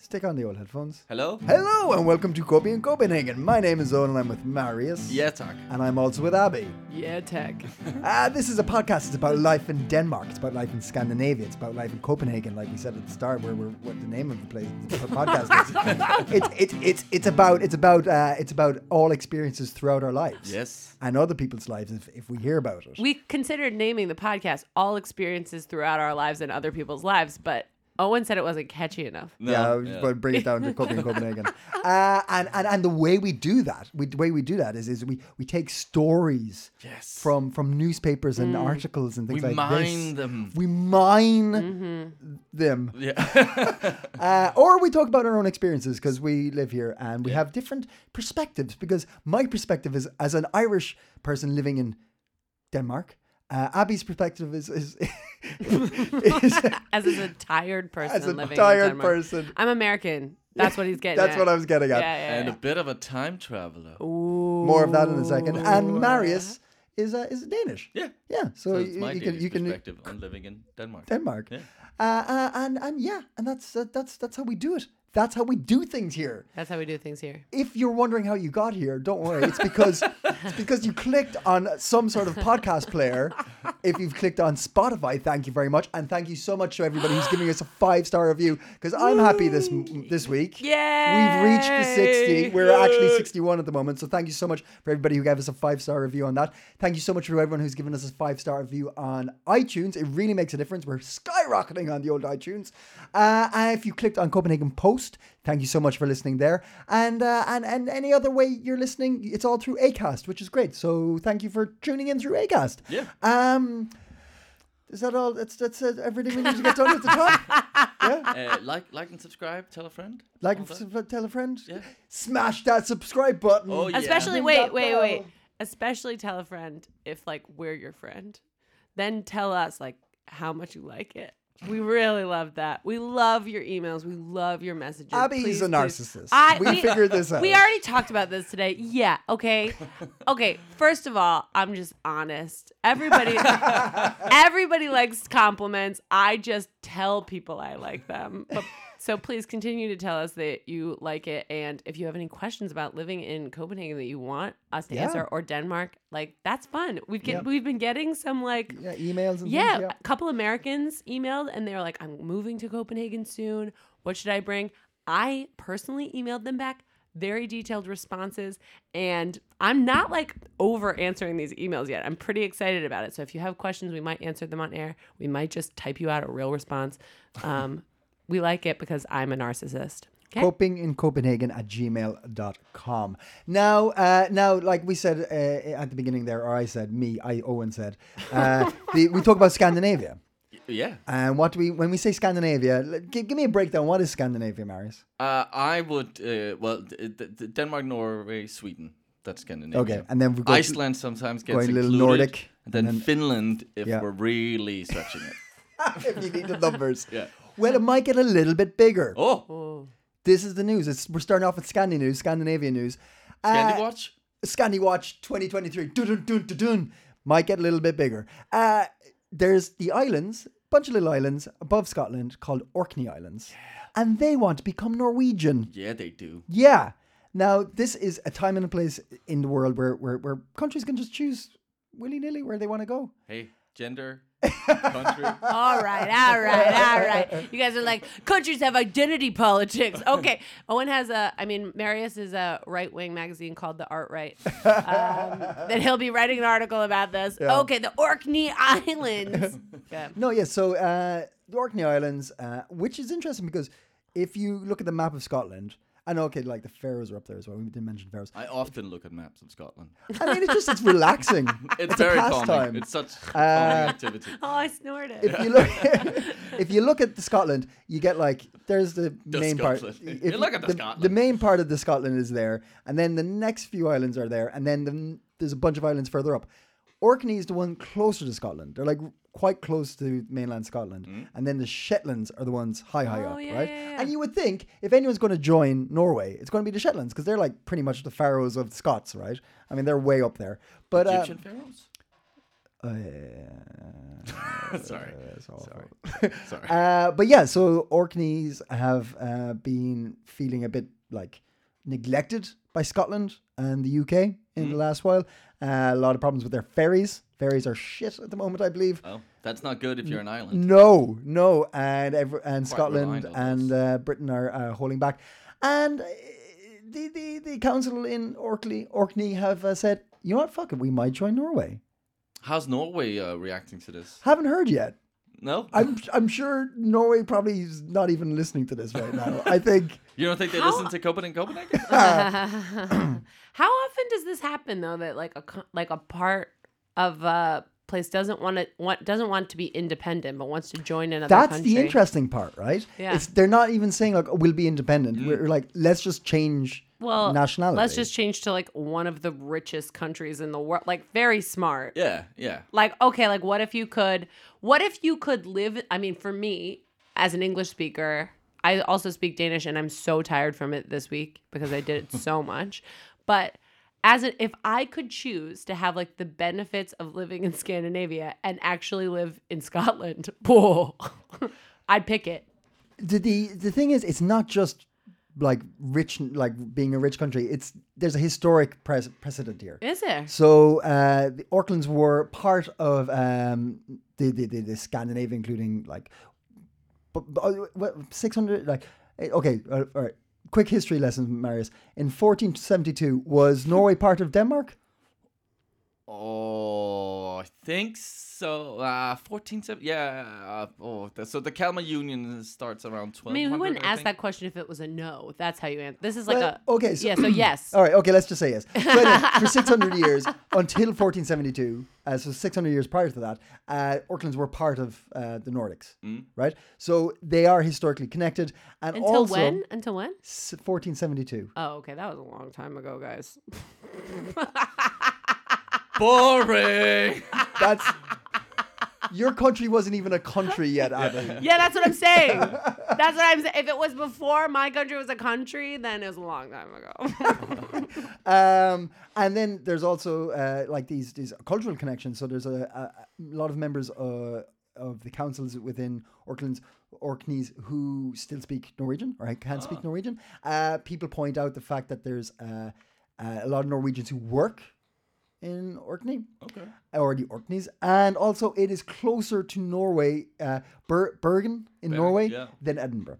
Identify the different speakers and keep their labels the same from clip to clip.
Speaker 1: Stick on the old headphones.
Speaker 2: Hello?
Speaker 1: Hello and welcome to Kobe in Copenhagen. My name is Owen and I'm with Marius.
Speaker 2: Yeah, talk.
Speaker 1: And I'm also with Abby.
Speaker 3: Yeah, tech.
Speaker 1: Uh, this is a podcast. It's about life in Denmark. It's about life in Scandinavia. It's about life in Copenhagen, like we said at the start, where we're what the name of the place the podcast is. it's it's it's it's about it's about uh, it's about all experiences throughout our lives.
Speaker 2: Yes.
Speaker 1: and other people's lives if, if we hear about it.
Speaker 3: we considered naming the podcast All Experiences Throughout Our Lives and Other People's Lives, but Owen said it wasn't catchy enough.
Speaker 2: No,
Speaker 1: yeah, I was just going to bring it down to Copenhagen, Copenhagen. Uh, and, and and the way we do that, we, the way we do that is is we, we take stories
Speaker 2: Yes.
Speaker 1: from from newspapers
Speaker 3: Mm.
Speaker 1: and articles and things
Speaker 2: We
Speaker 1: like
Speaker 2: mine
Speaker 1: this.
Speaker 2: them.
Speaker 1: We mine
Speaker 3: Mm-hmm.
Speaker 1: them.
Speaker 2: Yeah.
Speaker 1: Uh, or we talk about our own experiences because we live here and we have different perspectives. Because my perspective is as an Irish person living in Denmark, uh, Abby's perspective is is, is
Speaker 3: As is a tired person
Speaker 1: as a
Speaker 3: living in
Speaker 1: tired
Speaker 3: Denmark.
Speaker 1: person.
Speaker 3: I'm American. That's what he's getting
Speaker 1: That's
Speaker 3: at.
Speaker 1: what I was getting
Speaker 3: Yeah,
Speaker 1: at.
Speaker 3: yeah,
Speaker 2: and
Speaker 3: yeah.
Speaker 2: a bit of a time traveler.
Speaker 1: Oh.
Speaker 3: Ooh.
Speaker 1: More of that in a second. And Marius is uh, is Danish.
Speaker 2: Yeah.
Speaker 1: yeah. So,
Speaker 2: So
Speaker 1: you,
Speaker 2: it's my
Speaker 1: you can
Speaker 2: Danish
Speaker 1: you can
Speaker 2: perspective on living in Denmark.
Speaker 1: Denmark.
Speaker 2: Yeah.
Speaker 1: Uh, uh, and and yeah, and that's uh, that's that's how we do it. That's how we do things here.
Speaker 3: That's how we do things here.
Speaker 1: if you're wondering how you got here, don't worry. It's because it's because you clicked on some sort of podcast player. If you've clicked on Spotify, thank you very much, and thank you so much to everybody who's giving us a five star review. Because I'm happy this this week.
Speaker 3: Yeah.
Speaker 1: We've reached the 60. We're actually 61 at the moment. So thank you so much for everybody who gave us a five star review on that. Thank you so much for everyone who's given us a five star review on iTunes. It really makes a difference. We're skyrocketing on the old iTunes. Uh, and if you clicked on Copenhagen Post, thank you so much for listening there. And, uh, and and any other way you're listening, it's all through Acast, which is great. So thank you for tuning in through Acast.
Speaker 2: Yeah.
Speaker 1: Um, is that all? That's that's uh, everything we need to get done at the top.
Speaker 2: Uh, like, like, and subscribe. Tell a friend.
Speaker 1: Like,
Speaker 2: All that.
Speaker 1: sub- tell a friend.
Speaker 2: Yeah.
Speaker 1: Smash that subscribe button.
Speaker 2: Oh, yeah.
Speaker 3: Especially,
Speaker 1: Ring
Speaker 3: wait,
Speaker 1: that
Speaker 3: wait,
Speaker 1: bell.
Speaker 3: wait. Especially tell a friend if, like, we're your friend. Then tell us, like, how much you like it. We really love that. We love your emails. We love your messages.
Speaker 1: Abby
Speaker 3: Please,
Speaker 1: is a
Speaker 3: please.
Speaker 1: narcissist.
Speaker 3: I-
Speaker 1: we,
Speaker 3: we-
Speaker 1: figured this out.
Speaker 3: We already talked about this today. Yeah. Okay. Okay. First of all, I'm just honest. Everybody, everybody likes compliments. I just tell people I like them. But, so please continue to tell us that you like it, and if you have any questions about living in Copenhagen that you want us to
Speaker 1: Yeah.
Speaker 3: answer, or Denmark, like that's fun. We've get,
Speaker 1: Yeah.
Speaker 3: we've been getting some like
Speaker 1: Yeah, emails and
Speaker 3: yeah,
Speaker 1: things. Yeah.
Speaker 3: a couple Americans emailed and they were like, I'm moving to Copenhagen soon. What should I bring? I personally emailed them back very detailed responses. And I'm not like over answering these emails yet. I'm pretty excited about it. So if you have questions, we might answer them on air. We might just type you out a real response. Um, we like it because I'm a narcissist. Okay.
Speaker 1: Coping in Copenhagen at gmail.com. Now, uh, now, like we said uh, at the beginning there, or I said, me, I, Owen said, uh, the, we talk about Scandinavia.
Speaker 2: Yeah.
Speaker 1: And what do we, when we say Scandinavia, l- gi- give me a breakdown. What is Scandinavia, Marius?
Speaker 2: Uh, I would. Uh, well, d- d- d- Denmark, Norway, Sweden. That's Scandinavia.
Speaker 1: Okay. And then we go.
Speaker 2: Iceland sometimes gets
Speaker 1: going a little
Speaker 2: included,
Speaker 1: Nordic,
Speaker 2: and then,
Speaker 1: and then-
Speaker 2: Finland if
Speaker 1: Yeah.
Speaker 2: we're really stretching it.
Speaker 1: if you need the numbers.
Speaker 2: Yeah.
Speaker 1: Well, it might get a little bit bigger.
Speaker 2: Oh,
Speaker 1: This is the news. It's, we're starting off with Scandi news, Scandinavia news. Uh,
Speaker 2: Candy Watch.
Speaker 1: Scandi Watch 2023 dun, dun, dun, dun, might get a little bit bigger. Uh, there's the islands, bunch of little islands above Scotland called Orkney Islands, and they want to become Norwegian.
Speaker 2: Yeah, they do.
Speaker 1: Yeah. Now this is a time and a place in the world where where, where countries can just choose willy nilly where they want to go.
Speaker 2: Hey, gender, country.
Speaker 3: All right, all right, all right. You guys are like countries have identity politics. Okay, Owen has a. I mean, Marius is a right wing magazine called The Art Right. Um, that he'll be writing an article about this. Okay, the Orkney Islands. Yeah.
Speaker 1: No, yeah. So uh, the Orkney Islands, uh, which is interesting because if you look at the map of Scotland, I know. Okay, like the Faroes are up there as well. We didn't mention Faroes.
Speaker 2: I often look at maps of Scotland.
Speaker 1: I mean, it's just it's relaxing.
Speaker 2: It's,
Speaker 1: a
Speaker 2: very calming.
Speaker 1: pastime. Uh,
Speaker 2: It's such calming activity.
Speaker 3: Oh, I snorted.
Speaker 1: if you look if you look at the Scotland, you get like there's the,
Speaker 2: The
Speaker 1: main part.
Speaker 2: Scotland. You look at the Scotland.
Speaker 1: The main part of the Scotland is there, and then the next few islands are there, and then the, there's a bunch of islands further up. Orkney is the one closer to Scotland. They're like quite close to mainland Scotland,
Speaker 2: Mm.
Speaker 1: and then the Shetlands are the ones high, high
Speaker 3: Oh,
Speaker 1: up,
Speaker 3: yeah,
Speaker 1: right?
Speaker 3: yeah, yeah.
Speaker 1: And you would think if anyone's going to join Norway, it's going to be the Shetlands because they're like pretty much the Faroes of the Scots, right? I mean, they're way up there. But uh,
Speaker 2: Egyptian pharaohs?
Speaker 1: Uh,
Speaker 2: Sorry.
Speaker 1: that's awful.
Speaker 2: Sorry. Sorry.
Speaker 1: Uh, but yeah, so Orkneys have uh, been feeling a bit like neglected by Scotland and the UK in the
Speaker 2: Mm-hmm.
Speaker 1: last while. Uh, a lot of problems with their ferries. Ferries are shit at the moment, I believe.
Speaker 2: Well, that's not good if you're an island.
Speaker 1: No, no, and every, and
Speaker 2: reliant
Speaker 1: Scotland
Speaker 2: on
Speaker 1: and uh, Britain are uh, holding back, and uh, the the, the council in Orkney Orkney have uh, said, you know what, fuck it, we might join Norway.
Speaker 2: How's Norway uh, reacting to this?
Speaker 1: Haven't heard yet.
Speaker 2: No,
Speaker 1: I'm I'm sure Norway probably is not even listening to this right now. I think
Speaker 2: you don't think they
Speaker 3: How-
Speaker 2: listen to Copenhagen? Copenhagen?
Speaker 3: How often does this happen though? That like a co- like a part of a place doesn't want to want doesn't want to be independent, but wants to join another.
Speaker 1: that's
Speaker 3: country.
Speaker 1: the interesting part, right?
Speaker 3: Yeah.
Speaker 1: It's they're not even saying like oh, we'll be independent. We're like let's just change
Speaker 3: Well,
Speaker 1: nationality.
Speaker 3: Let's just change to like one of the richest countries in the world. Like very smart.
Speaker 2: yeah, yeah.
Speaker 3: like okay like what if you could what if you could live i mean for me as an english speaker i also speak danish and i'm so tired from it this week because i did it so much but as an, if i could choose to have like the benefits of living in scandinavia and actually live in scotland whoa, i'd pick it
Speaker 1: the, the the thing is, it's not just like rich, like being a rich country. It's there's a historic pres- precedent here.
Speaker 3: is there
Speaker 1: So uh, the Orkneys were part of um, the, the, the the Scandinavia, including like, but, oh, six hundred like eh, okay, all right, all right. Quick history lesson, Marius. In 1472, was Norway part of Denmark?
Speaker 2: Oh, I think so. Uh, fourteen seven. Yeah. Uh, oh, that, so the Kalmar Union starts around
Speaker 3: i
Speaker 2: twelve.
Speaker 3: mean we wouldn't ask
Speaker 2: think.
Speaker 3: that question if it was a no that's how you answer this is like
Speaker 1: Well,
Speaker 3: a
Speaker 1: okay, so-
Speaker 3: yeah so yes
Speaker 1: All right, okay, let's just say yes. So anyway, for 600 years until 1472, uh, so 600 years prior to that, uh, Orkneys were part of uh, the Nordics, right? So they are historically connected, and
Speaker 3: until
Speaker 1: also
Speaker 3: when until when
Speaker 1: s- 1472.
Speaker 3: oh okay that was a long time ago guys
Speaker 2: Boring.
Speaker 1: That's your country wasn't even a country yet, Abby.
Speaker 3: Yeah, that's what I'm saying. That's what I'm saying. If it was before my country was a country, then it was a long time ago.
Speaker 1: Um, and then there's also uh, like these these cultural connections. So there's a, a, a lot of members uh, of the councils within Orkland's Orkneys who still speak Norwegian or can speak Norwegian. Uh, people point out the fact that there's uh, uh, a lot of Norwegians who work in Orkney. uh,
Speaker 2: okay.
Speaker 1: or the Orkneys, and also it is closer to Norway, uh, Ber- Bergen in Norway,
Speaker 2: yeah.
Speaker 1: than Edinburgh.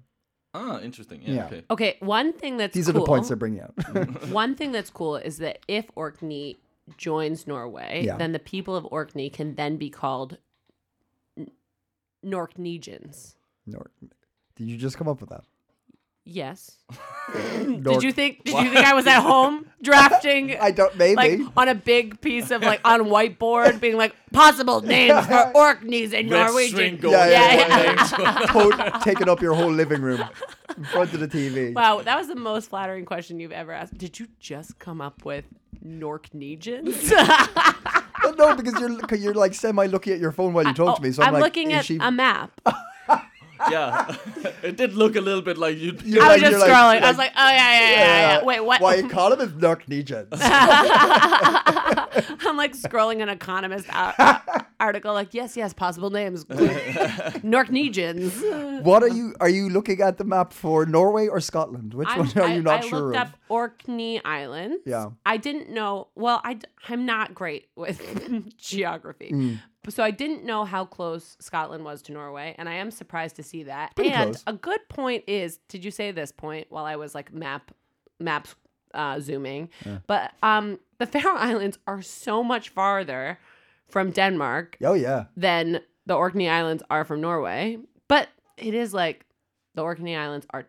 Speaker 2: Ah, interesting. Yeah.
Speaker 1: Yeah.
Speaker 2: Okay.
Speaker 3: okay, one thing that's
Speaker 1: These are
Speaker 3: cool,
Speaker 1: the points they're bringing out.
Speaker 3: One thing that's cool is that if Orkney joins Norway,
Speaker 1: Yeah.
Speaker 3: then the people of Orkney can then be called N- Norknegians.
Speaker 1: Nor- Did you just come up with that?
Speaker 3: Yes.
Speaker 1: Nork-
Speaker 3: Did you think? Did you think I was at home drafting?
Speaker 1: I don't. Maybe.
Speaker 3: Like on a big piece of like on whiteboard, being like possible names for Orkneys
Speaker 2: Red
Speaker 3: in Norwegian.
Speaker 2: string going
Speaker 1: Yeah, yeah,
Speaker 2: one
Speaker 1: yeah.
Speaker 2: name to another.
Speaker 1: To- taking up your whole living room in front of the TV.
Speaker 3: Wow, that was the most flattering question you've ever asked. Did you just come up with Norknegians?
Speaker 1: But no, because you're 'cause you're like semi looking at your phone while you talk to me. So I'm, like,
Speaker 3: oh, looking
Speaker 1: is
Speaker 3: at
Speaker 1: she-
Speaker 3: a map.
Speaker 2: yeah. it did look a little bit like you.
Speaker 1: You're
Speaker 3: I was just
Speaker 1: you're
Speaker 3: scrolling. I was like, oh yeah, yeah, yeah, yeah. yeah. Wait, what?
Speaker 1: Why you call him is Norwegians?
Speaker 3: I'm like scrolling an Economist ar- article. Like, yes, yes, possible names, Norknegians.
Speaker 1: what are you? Are you looking at the map for Norway or Scotland? Which
Speaker 3: I'm-
Speaker 1: one are
Speaker 3: I-
Speaker 1: you not
Speaker 3: I
Speaker 1: sure
Speaker 3: looked
Speaker 1: of?
Speaker 3: up Orkney Island.
Speaker 1: Yeah.
Speaker 3: I didn't know. Well, I am not great with geography,
Speaker 1: Mm.
Speaker 3: so I didn't know how close Scotland was to Norway, and I am surprised to see that.
Speaker 1: Pretty
Speaker 3: and
Speaker 1: close.
Speaker 3: a good point is, did you say this point while I was like map maps uh, zooming? But um, the Faroe Islands are so much farther from Denmark
Speaker 1: Oh yeah.
Speaker 3: than the Orkney Islands are from Norway, but it is like the Orkney Islands are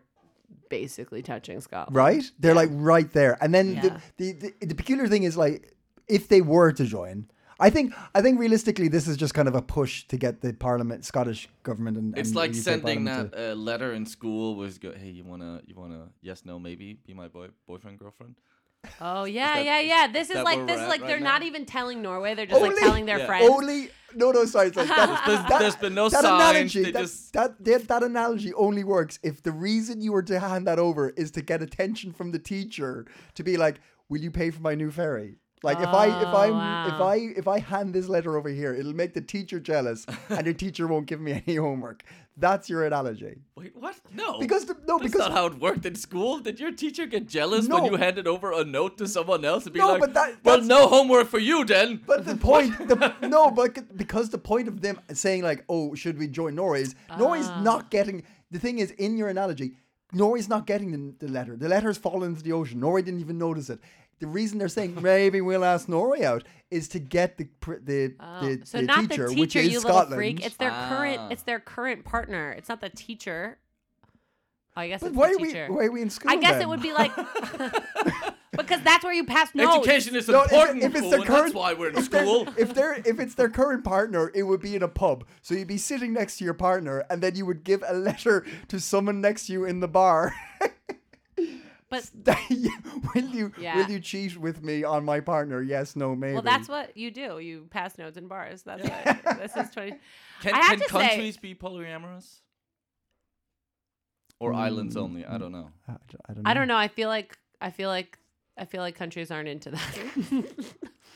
Speaker 3: basically touching Scotland.
Speaker 1: right? They're like right there. And then
Speaker 3: Yeah.
Speaker 1: the, the, the the peculiar thing is like if they were to join, I think I think realistically this is just kind of a push to get the parliament, Scottish government, and
Speaker 2: It's
Speaker 1: and
Speaker 2: like
Speaker 1: UK
Speaker 2: sending
Speaker 1: parliament
Speaker 2: that uh, letter in school was go, hey, you wanna, you wanna, yes, no, maybe, be my boy, boyfriend, girlfriend.
Speaker 3: Oh yeah,
Speaker 2: that-
Speaker 3: yeah,
Speaker 2: is
Speaker 3: yeah. This is
Speaker 2: that
Speaker 3: like
Speaker 2: where
Speaker 3: this
Speaker 2: we're at
Speaker 3: is like
Speaker 2: right
Speaker 3: they're
Speaker 2: now?
Speaker 3: not even telling Norway. They're just
Speaker 1: Only-
Speaker 3: like telling their
Speaker 2: Yeah.
Speaker 1: to-
Speaker 3: friends.
Speaker 1: only. No, no, sorry, sorry. That,
Speaker 2: There's,
Speaker 1: that-
Speaker 2: there's been no
Speaker 1: that
Speaker 2: signs.
Speaker 1: analogy,
Speaker 2: they
Speaker 1: that,
Speaker 2: just
Speaker 1: that, that that analogy only works if the reason you were to hand that over is to get attention from the teacher to be like, "Will you pay for my new ferry?" Like if I if
Speaker 3: Oh,
Speaker 1: I if
Speaker 3: wow.
Speaker 1: I if I hand this letter over here, it'll make the teacher jealous, and your teacher won't give me any homework. That's your analogy.
Speaker 2: Wait, what? No.
Speaker 1: Because the, no,
Speaker 2: That's
Speaker 1: because
Speaker 2: not how it worked in school. Did your teacher get jealous when
Speaker 1: No.
Speaker 2: you handed over a note to someone else and be
Speaker 1: No,
Speaker 2: like,
Speaker 1: but that-
Speaker 2: "Well,
Speaker 1: that's-
Speaker 2: no homework for you then."
Speaker 1: But the point, the, no, but c- because the point of them saying like, "Oh, should we join Norway?" is Norway's
Speaker 3: Ah.
Speaker 1: not getting. The thing is, in your analogy, Norway's not getting the, the letter. The letter's fallen into the ocean. Norway didn't even notice it. The reason they're saying maybe we'll ask Norway out is to get the pr- the,
Speaker 3: Oh,
Speaker 1: the,
Speaker 3: so
Speaker 1: the
Speaker 3: not
Speaker 1: teacher,
Speaker 3: the
Speaker 1: which
Speaker 3: teacher,
Speaker 1: is
Speaker 3: you little
Speaker 1: Scotland.
Speaker 3: freak. It's their
Speaker 2: Ah.
Speaker 3: current. It's their current partner. It's not the teacher. Oh, I guess
Speaker 1: but
Speaker 3: it's
Speaker 1: why
Speaker 3: the
Speaker 1: are we
Speaker 3: teacher.
Speaker 1: why are we in school?
Speaker 3: I guess
Speaker 1: then?
Speaker 3: it would be like because that's where you pass notes.
Speaker 2: Education is
Speaker 1: No, if it-
Speaker 2: important.
Speaker 1: if it's
Speaker 2: Owen,
Speaker 1: the current-
Speaker 2: that's why we're in
Speaker 1: if they're-
Speaker 2: school.
Speaker 1: If they're if it's their current partner, it would be in a pub. So you'd be sitting next to your partner, and then you would give a letter to someone next to you in the bar.
Speaker 3: But
Speaker 1: will you
Speaker 3: Yeah.
Speaker 1: will you cheat with me on my partner? Yes, no, maybe.
Speaker 3: well, that's what you do. You pass notes in bars. That's what this is twenty.
Speaker 2: Can,
Speaker 3: I have
Speaker 2: can
Speaker 3: to say-
Speaker 2: countries be polyamorous? Or islands
Speaker 1: Mm.
Speaker 2: only? I don't know.
Speaker 1: I don't- I don't know.
Speaker 3: I don't know. I feel like I feel like I feel like countries aren't into that.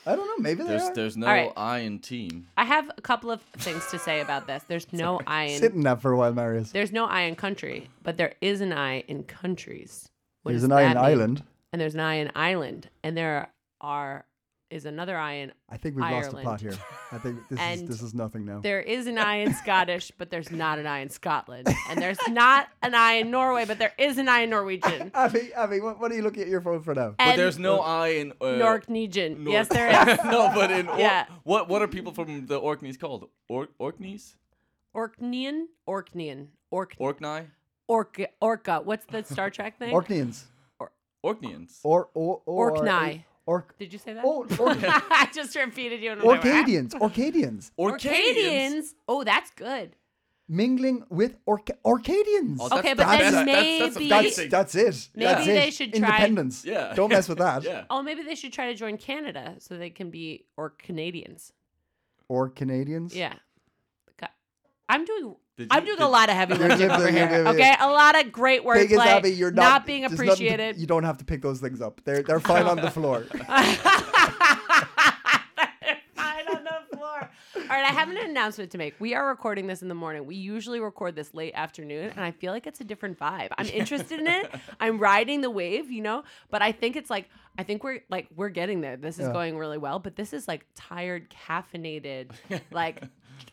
Speaker 1: I don't know. Maybe they
Speaker 2: There's
Speaker 1: are.
Speaker 2: there's no
Speaker 3: right.
Speaker 2: I in team.
Speaker 3: I have a couple of things to say about this. There's no I in
Speaker 1: Sit in that for a while, Marius.
Speaker 3: There's no I in country, but there is an I in countries. What
Speaker 1: There's
Speaker 3: does
Speaker 1: an eye
Speaker 3: that
Speaker 1: in
Speaker 3: mean?
Speaker 1: Ireland.
Speaker 3: And there's an I in island. And there are is another I in
Speaker 1: I think we've lost the plot
Speaker 3: Ireland.
Speaker 1: here. I think this is
Speaker 3: And
Speaker 1: this is nothing now.
Speaker 3: there is an I in Scottish, but there's not an I in Scotland. And there's not an I in Norway, but there is an I in Norwegian.
Speaker 1: Abby, Abby, what, what are you looking at your phone for now?
Speaker 2: But
Speaker 3: And
Speaker 2: there's no I in uh,
Speaker 3: Norwegian.
Speaker 2: Nor-
Speaker 3: Yes, there is.
Speaker 2: no, but in Or-
Speaker 3: Yeah.
Speaker 2: what what are people from the Orkneys called? Or- Orkneys?
Speaker 3: Orkneyan? Orkneyan. Ork
Speaker 2: Orkney?
Speaker 3: Orca Orca. What's the Star Trek thing?
Speaker 1: Orkneys.
Speaker 2: Orkneys.
Speaker 1: Or or or
Speaker 3: Orkney.
Speaker 1: Ork.
Speaker 3: Did you say that?
Speaker 1: Oh, Ork-
Speaker 3: I just repeated you. and I'm like,
Speaker 1: Orcadians, Orcadians,
Speaker 2: Orcadians.
Speaker 3: Orcadians. Oh, that's good.
Speaker 1: mingling with Orca- Orcadians.
Speaker 2: Oh, that's
Speaker 3: Okay,
Speaker 2: the
Speaker 3: but
Speaker 1: then
Speaker 2: best. that's, that's
Speaker 3: maybe-
Speaker 1: that's
Speaker 2: amazing.
Speaker 1: that's it.
Speaker 3: Maybe
Speaker 1: that's
Speaker 3: they
Speaker 1: it.
Speaker 3: should try-
Speaker 1: independence.
Speaker 2: Yeah.
Speaker 1: don't mess with that.
Speaker 2: yeah.
Speaker 3: Oh, maybe they should try to join Canada so they can be or Canadians.
Speaker 1: Or Canadians.
Speaker 3: Yeah. Ca- I'm doing
Speaker 2: Did
Speaker 3: I'm
Speaker 2: you-
Speaker 3: doing
Speaker 2: did-
Speaker 3: a lot of heavy
Speaker 1: You're
Speaker 3: lifting over
Speaker 1: giving- you're
Speaker 3: here.
Speaker 1: giving-
Speaker 3: Okay, a lot of great
Speaker 1: Thing is,
Speaker 3: wordplay.
Speaker 1: Abby, you're not,
Speaker 3: being
Speaker 1: there's nothing
Speaker 3: appreciated.
Speaker 1: To, you don't have to pick those things up. They're they're fine on the floor.
Speaker 3: Fine on the floor. All right, I have an announcement to make. We are recording this in the morning. We usually record this late afternoon, and I feel like it's a different vibe. I'm interested in it. I'm riding the wave, you know. But I think it's like I think we're like we're getting there. This is
Speaker 1: Yeah.
Speaker 3: going really well. But this is like tired, caffeinated, like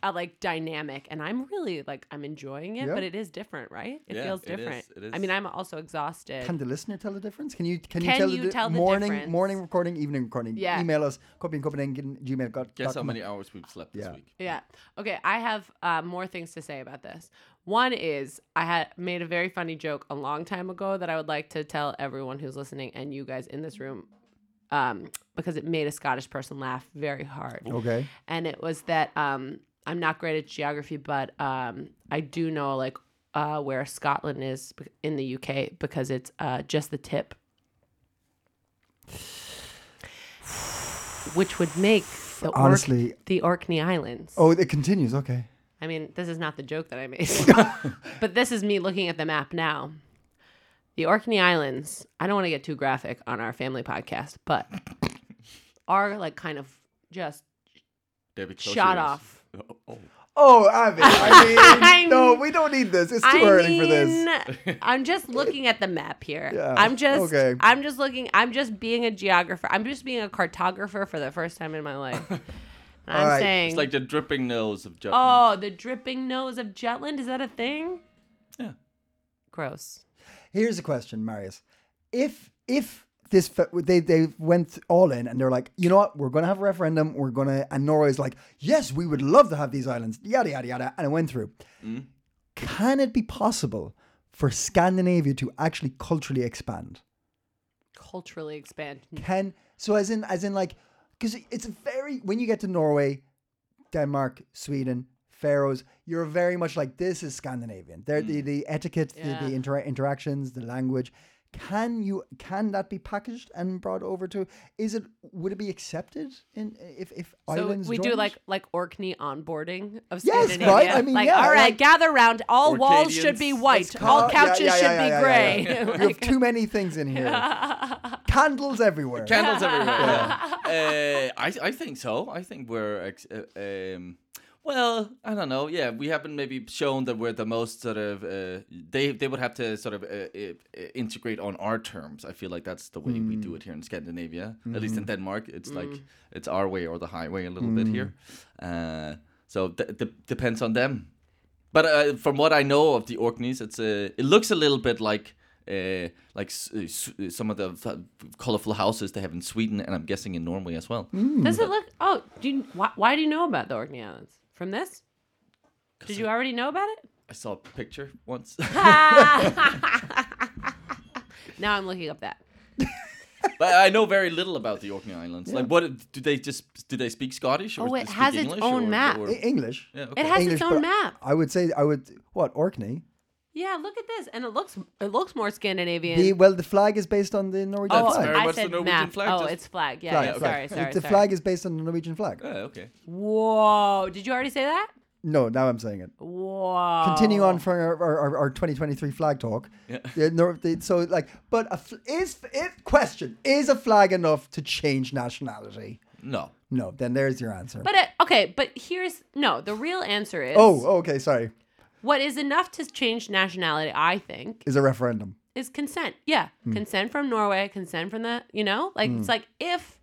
Speaker 3: uh, like dynamic, and I'm really like I'm enjoying it.
Speaker 1: Yeah.
Speaker 3: But it is different, right? It
Speaker 2: Yeah,
Speaker 3: feels
Speaker 2: it is,
Speaker 3: different.
Speaker 2: it
Speaker 3: I
Speaker 2: is.
Speaker 3: mean, I'm also exhausted.
Speaker 1: Can the listener tell the difference? Can you can,
Speaker 3: Can
Speaker 1: tell,
Speaker 3: you
Speaker 1: the, di-
Speaker 3: tell the
Speaker 1: morning
Speaker 3: difference?
Speaker 1: morning recording evening recording?
Speaker 3: Yeah.
Speaker 1: Email us copy and Copenhagen gmail. dot-
Speaker 2: Guess
Speaker 1: dot
Speaker 2: how
Speaker 1: com.
Speaker 2: many hours we've slept this
Speaker 1: Yeah.
Speaker 2: week?
Speaker 3: Yeah. Okay. I have uh, more things to say about this. One is I had made a very funny joke a long time ago that I would like to tell everyone who's listening and you guys in this room, um, because it made a Scottish person laugh very hard.
Speaker 1: Okay.
Speaker 3: And it was that um, I'm not great at geography, but um, I do know like uh, where Scotland is bec- in the UK because it's uh, just the tip, which would make the Ork-
Speaker 1: Honestly-
Speaker 3: the Orkney Islands.
Speaker 1: Oh, it continues. Okay.
Speaker 3: I mean, this is not the joke that I made, but this is me looking at the map now. The Orkney Islands, I don't want to get too graphic on our family podcast, but are like kind of just
Speaker 2: Debbie, close
Speaker 3: shot
Speaker 2: your ears.
Speaker 3: off.
Speaker 2: Oh, oh.
Speaker 1: Oh, Abby, I mean,
Speaker 3: I'm-
Speaker 1: no, we don't need this. It's too
Speaker 3: I
Speaker 1: early for this.
Speaker 3: mean, I'm just looking at the map here.
Speaker 1: Yeah,
Speaker 3: I'm just
Speaker 1: okay.
Speaker 3: I'm just looking I'm just being a geographer. I'm just being a cartographer for the first time in my life. And I'm
Speaker 1: right.
Speaker 3: saying
Speaker 2: It's like the dripping nose of Jutland.
Speaker 3: Oh, the dripping nose of Jutland, is that a thing?
Speaker 2: Yeah.
Speaker 3: Gross.
Speaker 1: Here's a question, Marius. If if this fe- they they went all in and they're like, you know what, we're gonna have a referendum. We're gonna and Norway's like, yes, we would love to have these islands. Yada yada yada, and it went through. Can it be possible for Scandinavia to actually culturally expand?
Speaker 3: Culturally expand.
Speaker 1: Can so as in as in like because it's a very when you get to Norway, Denmark, Sweden. Faroes, you're very much like this is Scandinavian. There, the, the etiquette, the,
Speaker 3: Mm. Yeah.
Speaker 1: the intera- interactions, the language. Can you can that be packaged and brought over to? Is it would it be accepted in if if
Speaker 3: So
Speaker 1: islands?
Speaker 3: we do
Speaker 1: joined?
Speaker 3: like like Orkney onboarding of
Speaker 1: Yes,
Speaker 3: Scandinavia.
Speaker 1: right? I mean,
Speaker 3: like,
Speaker 1: yeah,
Speaker 3: all right,
Speaker 1: like-
Speaker 3: gather round. All walls
Speaker 2: Orcadians.
Speaker 3: should be
Speaker 2: It's
Speaker 3: white.
Speaker 1: Oh,
Speaker 3: All
Speaker 1: yeah,
Speaker 3: couches
Speaker 1: yeah,
Speaker 3: should
Speaker 1: yeah,
Speaker 3: be
Speaker 1: yeah, yeah,
Speaker 3: grey.
Speaker 1: yeah. you have too many things in here. Candles everywhere.
Speaker 2: Candles everywhere. yeah. uh, I I think so. I think we're ex- uh, um, well. I don't know. Yeah, we haven't maybe shown that we're the most sort of. Uh, they they would have to sort of uh, i- i- integrate on our terms. I feel like that's the way we do it here in Scandinavia. At least in Denmark, it's like it's our way or the highway a little bit here. Uh, so d- d- depends on them. But uh, from what I know of the Orkneys, it's uh, it looks a little bit like uh, like s- uh, s- uh, some of the f- colorful houses they have in Sweden, and I'm guessing in Norway as well.
Speaker 1: Hmm.
Speaker 3: Does it look? Oh, do you, why, why do you know about the Orkney Islands from this? Did you already know about it?
Speaker 2: I saw a picture once.
Speaker 3: now I'm looking up that.
Speaker 2: but I know very little about the Orkney Islands. Like, what do they just do? They speak Scottish or
Speaker 3: Oh,
Speaker 2: do
Speaker 3: it
Speaker 2: they
Speaker 3: has
Speaker 2: speak
Speaker 3: its
Speaker 2: English
Speaker 3: own
Speaker 2: or-
Speaker 3: map.
Speaker 2: or-
Speaker 1: E- English.
Speaker 2: yeah,
Speaker 3: It
Speaker 2: okay.
Speaker 3: has
Speaker 1: English,
Speaker 3: its
Speaker 1: but
Speaker 3: own map.
Speaker 1: I would say I would what Orkney.
Speaker 3: Yeah, look at this, and it looks it looks more Scandinavian. Oh,
Speaker 1: The well, the flag is based on the Norwegian
Speaker 2: That's
Speaker 1: flag.
Speaker 2: very
Speaker 3: I
Speaker 2: much the
Speaker 3: said
Speaker 2: Norwegian
Speaker 3: map.
Speaker 2: flag,
Speaker 3: Oh,
Speaker 2: just-
Speaker 3: it's flag. Yeah,
Speaker 1: Flag,
Speaker 3: yeah,
Speaker 1: flag.
Speaker 3: sorry,
Speaker 1: The-
Speaker 3: sorry,
Speaker 1: the
Speaker 3: sorry.
Speaker 1: flag is based on the Norwegian flag.
Speaker 2: Yeah, okay.
Speaker 3: Whoa! Did you already say that?
Speaker 1: No, now I'm saying it.
Speaker 3: Whoa!
Speaker 1: Continue on for our, our, our, our 2023 flag talk.
Speaker 2: Yeah.
Speaker 1: The Nor- the- so like, but a fl- is if question is a flag enough to change nationality?
Speaker 2: No.
Speaker 1: No, then there's your answer.
Speaker 3: But it, okay, but here's no. The real answer is
Speaker 1: oh, okay, sorry.
Speaker 3: what is enough to change nationality. I think
Speaker 1: Is a referendum.
Speaker 3: is consent. Yeah,
Speaker 1: Hmm.
Speaker 3: consent from Norway, consent from the you know, like it's like if.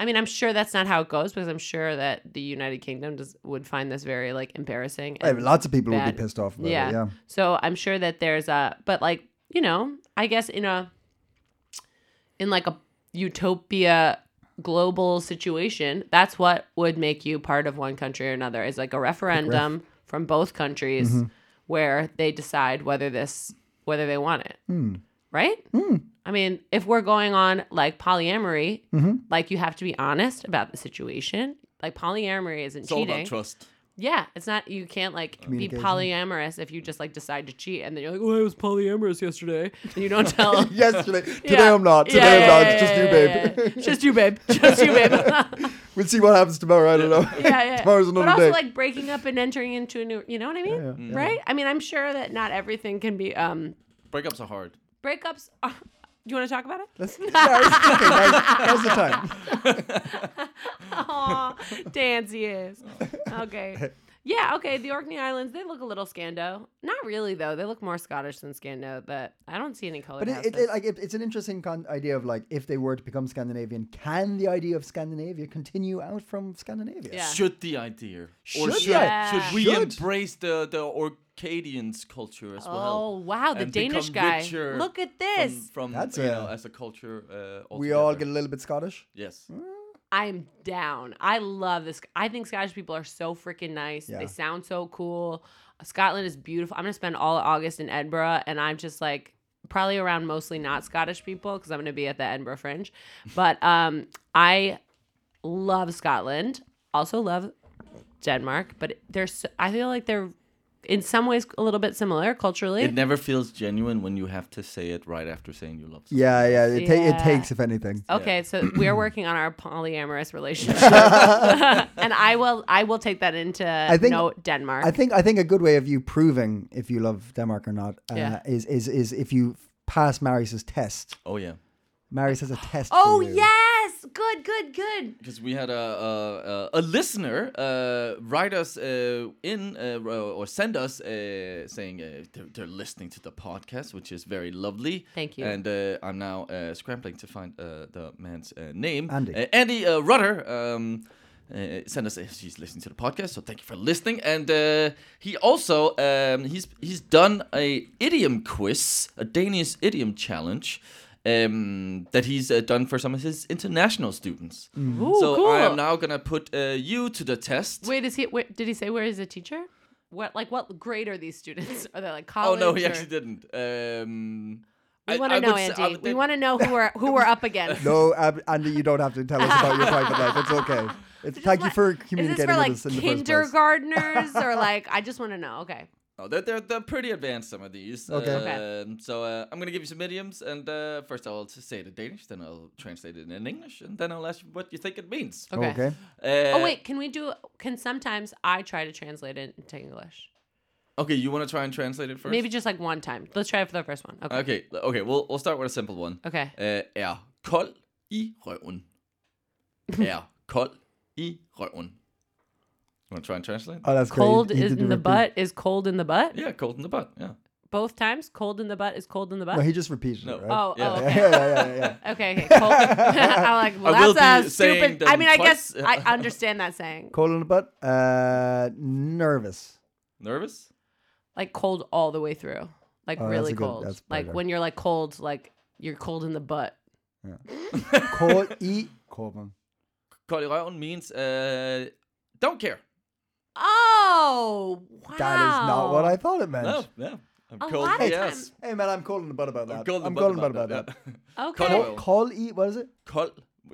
Speaker 3: I mean, I'm sure that's not how it goes because I'm sure that the United Kingdom does, would find this very like embarrassing.
Speaker 1: I
Speaker 3: and-
Speaker 1: mean, lots of people would
Speaker 3: bad.
Speaker 1: be pissed off. About yeah. It, yeah.
Speaker 3: So I'm sure that there's a, but like you know, I guess in a, in like a utopia global situation, that's what would make you part of one country or another is like a referendum from both countries where they decide whether this whether they want it, right? I mean, if we're going on like polyamory, like you have to be honest about the situation. Like polyamory isn't
Speaker 2: It's all
Speaker 3: cheating.
Speaker 2: about trust.
Speaker 3: Yeah, it's not you can't like be
Speaker 1: Communication.
Speaker 3: polyamorous if you just like decide to cheat and then you're like, oh, I was polyamorous yesterday, and you don't tell.
Speaker 1: Yesterday, today
Speaker 3: Yeah.
Speaker 1: I'm not.
Speaker 3: Yeah,
Speaker 1: Today
Speaker 3: yeah,
Speaker 1: I'm not.
Speaker 3: yeah,
Speaker 1: it's just
Speaker 3: yeah,
Speaker 1: you,
Speaker 3: yeah,
Speaker 1: babe.
Speaker 3: yeah. just you, babe. Just you, babe. yeah,
Speaker 1: we'll see what happens tomorrow. I don't know.
Speaker 3: yeah.
Speaker 1: Tomorrow's another
Speaker 3: but also
Speaker 1: day.
Speaker 3: like breaking up and entering into a new. You know what I mean?
Speaker 1: yeah,
Speaker 3: Right? I mean, I'm sure that not everything can be. um
Speaker 2: Breakups are hard.
Speaker 3: Breakups. Are, do you want to talk about it?
Speaker 1: Let's, no, it's- okay, now's- now's the time.
Speaker 3: Aw, Dancy is. Okay. Yeah, okay, the Orkney Islands, they look a little Scando. Not really, though. They look more Scottish than Scando, but I don't see any color.
Speaker 1: But it, it, it, like, it, it's an interesting con- idea of like if they were to become Scandinavian, can the idea of Scandinavia continue out from Scandinavia?
Speaker 3: Yeah.
Speaker 2: Should the idea or
Speaker 1: Should
Speaker 2: should,
Speaker 3: Yeah.
Speaker 2: should we
Speaker 1: Should.
Speaker 2: embrace the the Orcadians culture as well?
Speaker 3: Oh wow, the
Speaker 2: and
Speaker 3: Danish
Speaker 2: become
Speaker 3: guy!
Speaker 2: richer
Speaker 3: Look at
Speaker 2: from,
Speaker 3: this.
Speaker 2: from
Speaker 1: That's
Speaker 2: you know
Speaker 1: a-
Speaker 2: as a culture. Uh,
Speaker 1: We all get Mm. a
Speaker 2: altogether.
Speaker 1: little bit Scottish.
Speaker 2: yes.
Speaker 3: I am down. I love this. I think Scottish people are so freaking nice.
Speaker 1: Yeah.
Speaker 3: They sound so cool. Scotland is beautiful. I'm gonna spend all of August in Edinburgh, and I'm just like probably around mostly not Scottish people because I'm gonna be at the Edinburgh Fringe. But um, I love Scotland. Also love Denmark. But they're so, I feel like they're in some ways a little bit similar culturally.
Speaker 2: It never feels genuine when you have to say it right after saying you love. someone.
Speaker 1: Yeah, yeah. It, ta- it
Speaker 3: Yeah. Oh,
Speaker 1: takes, if anything.
Speaker 3: Okay, so we're working on our polyamorous relationship, and I will I will take that into
Speaker 1: think-
Speaker 3: note Denmark.
Speaker 1: I think I think a good way of you proving if you love Denmark or not uh,
Speaker 3: Yeah.
Speaker 1: is is is if you pass Marius's test.
Speaker 2: Oh yeah.
Speaker 1: Marius has a test. for
Speaker 3: oh
Speaker 1: you.
Speaker 3: yes, good, good, good.
Speaker 2: Because we had a a, a, a listener uh, write us uh, in uh, ro- or send us uh, saying uh, they're, they're listening to the podcast, which is very lovely.
Speaker 3: Thank you.
Speaker 2: And uh, I'm now uh, scrambling to find uh, the man's uh, name.
Speaker 1: Andy.
Speaker 2: Uh, Andy uh, Rutter. Um, uh, send us if she's listening to the podcast. So thank you for listening. And uh, he also um, he's he's done a idiom quiz, a Danish idiom challenge. Um, that he's uh, done for some of his international students.
Speaker 3: Ooh,
Speaker 2: so
Speaker 3: cool.
Speaker 2: I am now gonna put uh, you to the test.
Speaker 3: Wait, is he? Wait, did he say where is the teacher? What like what grade are these students? Are they like
Speaker 2: oh
Speaker 3: college?
Speaker 2: no, he
Speaker 3: or-
Speaker 2: actually didn't. Um,
Speaker 3: We want to know, Andy. we want to know who we're who we're up against.
Speaker 1: No, Ab- Andy, you don't have to tell us about your private life. It's okay. It's,
Speaker 3: Just
Speaker 1: thank you
Speaker 3: what-
Speaker 1: for
Speaker 3: Is
Speaker 1: communicating
Speaker 3: this for like
Speaker 1: with us in the first place.
Speaker 3: kindergartners or like? I just want to know. Okay.
Speaker 2: Oh, they're, they're they're pretty advanced. Some of these.
Speaker 1: Okay.
Speaker 3: Okay.
Speaker 2: Um, so uh, I'm gonna give you some idioms, and uh, first I'll just say it in Danish, then I'll translate it in English, and then I'll ask you what you think it means.
Speaker 3: Okay.
Speaker 1: okay.
Speaker 2: Uh,
Speaker 3: Oh wait, can we do? Can sometimes I try to translate it into English?
Speaker 2: Okay, you want to try and translate it first?
Speaker 3: Maybe just like one time. Let's try it for the first one. Okay.
Speaker 2: Uh, Okay. Okay. We'll we'll start with a simple one.
Speaker 3: Okay.
Speaker 2: Uh, er kold i røven. er kold i røven. You want to try and translate?
Speaker 1: Oh, that's great.
Speaker 3: Cold
Speaker 1: He
Speaker 3: is
Speaker 1: did
Speaker 3: in the
Speaker 1: repeat.
Speaker 3: butt is cold in the butt.
Speaker 2: yeah, cold in the butt. Yeah.
Speaker 3: Both times, cold in the butt is cold in the butt.
Speaker 1: No, he just repeated
Speaker 2: No.
Speaker 1: it, right?
Speaker 3: oh,
Speaker 2: Yeah.
Speaker 3: oh,
Speaker 1: yeah,
Speaker 3: okay.
Speaker 1: yeah, yeah, yeah, yeah.
Speaker 3: Okay, okay. Cold. I'm like, well,
Speaker 2: I will
Speaker 3: that's
Speaker 2: be
Speaker 3: a
Speaker 2: saying
Speaker 3: stupid.
Speaker 2: them
Speaker 3: I mean, I
Speaker 2: twice.
Speaker 3: guess I understand that saying.
Speaker 1: Cold in the butt. Uh, nervous.
Speaker 2: Nervous?
Speaker 3: Like cold all the way through. Like
Speaker 1: Oh, that's
Speaker 3: really
Speaker 1: a good-
Speaker 3: cold.
Speaker 1: that's
Speaker 3: like
Speaker 1: better.
Speaker 3: when you're like cold, like you're cold in the butt.
Speaker 1: Cold e. Cold one.
Speaker 2: Kold i røven means uh, don't care.
Speaker 3: Oh, wow.
Speaker 1: That is not what I thought it meant.
Speaker 2: No, yeah. I'm
Speaker 3: A
Speaker 2: cold
Speaker 3: lot
Speaker 2: in
Speaker 3: of
Speaker 2: the
Speaker 3: time-
Speaker 2: ass.
Speaker 1: Hey man, I'm cold in the butt about that.
Speaker 2: I'm cold in the
Speaker 1: cold
Speaker 2: butt
Speaker 1: butt
Speaker 2: about that.
Speaker 3: Okay.
Speaker 2: Cold.
Speaker 1: Cold, cold e. What is it?
Speaker 2: Kold,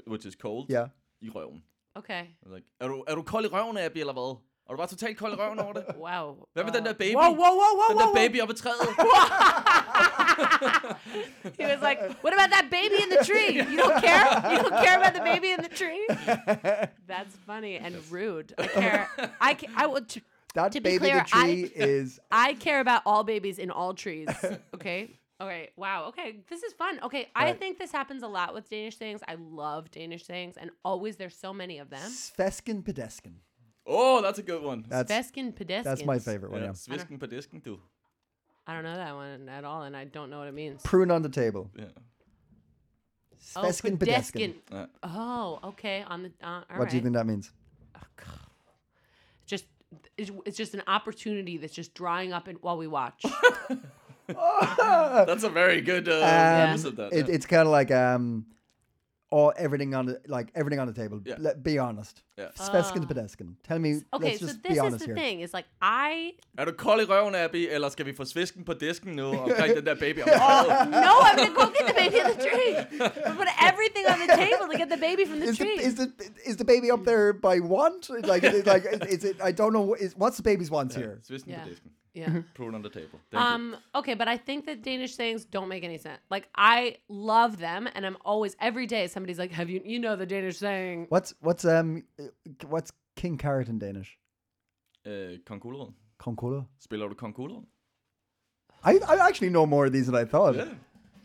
Speaker 2: which is cold,
Speaker 1: Yeah.
Speaker 2: i røven.
Speaker 3: Okay.
Speaker 2: Like, er, du, er du kold i røven, Abby, eller hvad? Er du bare totalt kold i røven over det?
Speaker 3: Wow.
Speaker 2: Hvad med den der baby?
Speaker 3: Whoa, whoa, whoa, whoa,
Speaker 2: Den
Speaker 3: whoa.
Speaker 2: der
Speaker 3: whoa.
Speaker 2: baby oppe i træet.
Speaker 3: He was like, "What about that baby in the tree? You don't care? You don't care about the baby in the tree?" That's funny and rude. I care. I ca- I would. T-
Speaker 1: That
Speaker 3: To be
Speaker 1: baby
Speaker 3: clear,
Speaker 1: the tree is.
Speaker 3: I care about all babies in all trees. Okay. All right. Wow. Okay. This is fun. Okay. I
Speaker 1: Right.
Speaker 3: think this happens a lot with Danish things. I love Danish things, and always there's so many of them.
Speaker 1: Svesken pedesken.
Speaker 2: oh, that's a good one.
Speaker 1: That's
Speaker 3: Beskin pedeskin.
Speaker 1: that's my favorite
Speaker 3: Er
Speaker 1: one.
Speaker 2: Ja,
Speaker 1: Yeah.
Speaker 2: svisken på disken, du.
Speaker 3: I don't know that one at all, and I don't know what it means.
Speaker 1: Prune on the table.
Speaker 2: Ja.
Speaker 1: Svesken pedesken.
Speaker 3: pedeskin.
Speaker 2: Ja.
Speaker 3: Oh, okay. On the uh, all
Speaker 1: What do you
Speaker 3: right.
Speaker 1: think that means?
Speaker 3: just it's, it's just an opportunity that's just drying up in, while we watch.
Speaker 2: That's a very good uh,
Speaker 1: Um,
Speaker 2: use of that.
Speaker 1: It,
Speaker 2: yeah.
Speaker 1: it's kind of like um, all everything on the like everything on the table.
Speaker 2: Yeah.
Speaker 1: Let, be honest.
Speaker 2: Yeah.
Speaker 1: Svesken pedesken. Tell me.
Speaker 3: Ah. okay,
Speaker 1: let's
Speaker 3: so
Speaker 1: just
Speaker 3: this
Speaker 1: be
Speaker 3: is
Speaker 1: honest
Speaker 3: the
Speaker 1: here.
Speaker 3: thing. It's like I
Speaker 2: Er du kold i røven, Abby, eller skal vi få svisken på disken nu omkring den der baby? oppe i træet?
Speaker 3: no, I'm gonna go get the baby in the tree. I put everything on the table to get the baby from the
Speaker 1: Is the,
Speaker 3: tree.
Speaker 1: is the is the baby up there by want? Like is it, like is it? I don't know. what Is, what's the baby's wants here?
Speaker 2: Svisken
Speaker 3: Yeah.
Speaker 2: på disken.
Speaker 3: yeah.
Speaker 2: Prune on the table. Thank you.
Speaker 3: Um. Okay, but I think that Danish sayings don't make any sense. Like I love them, and I'm always every day somebody's like, "Have you you know the Danish saying?"
Speaker 1: What's what's um uh, what's king carrot in Danish?
Speaker 2: Øh, Kong Gulerod.
Speaker 1: Konkula.
Speaker 2: Spiller du Kong Gulerod?
Speaker 1: I, I actually know more of these than I thought.
Speaker 2: Yeah.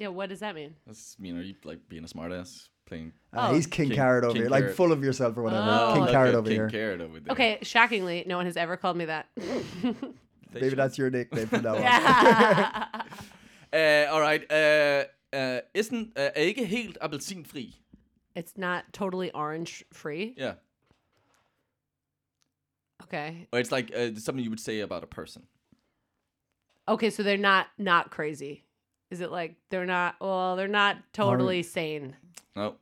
Speaker 3: Yeah. What does that mean?
Speaker 2: That's, you know, you like being a smartass, playing.
Speaker 1: Uh,
Speaker 3: Oh.
Speaker 1: he's king,
Speaker 2: King-
Speaker 1: carrot over
Speaker 2: King
Speaker 1: here, like
Speaker 2: Carrot.
Speaker 1: full of yourself or whatever.
Speaker 3: Oh.
Speaker 1: king
Speaker 2: Look
Speaker 1: carrot
Speaker 2: at
Speaker 1: over
Speaker 2: King
Speaker 1: here.
Speaker 2: Carrot over there.
Speaker 3: Okay. Shockingly, no one has ever called me that.
Speaker 2: They
Speaker 1: Maybe
Speaker 2: should.
Speaker 1: that's your nickname from now on.
Speaker 2: Uh, all right. Uh, uh, isn't uh, er ikke helt appelsinfri.
Speaker 3: it's not totally orange free.
Speaker 2: Yeah.
Speaker 3: Okay.
Speaker 2: Or it's like uh, something you would say about a person.
Speaker 3: Okay, so they're not not crazy. Is it like they're not? Well, they're not totally sane.
Speaker 2: No.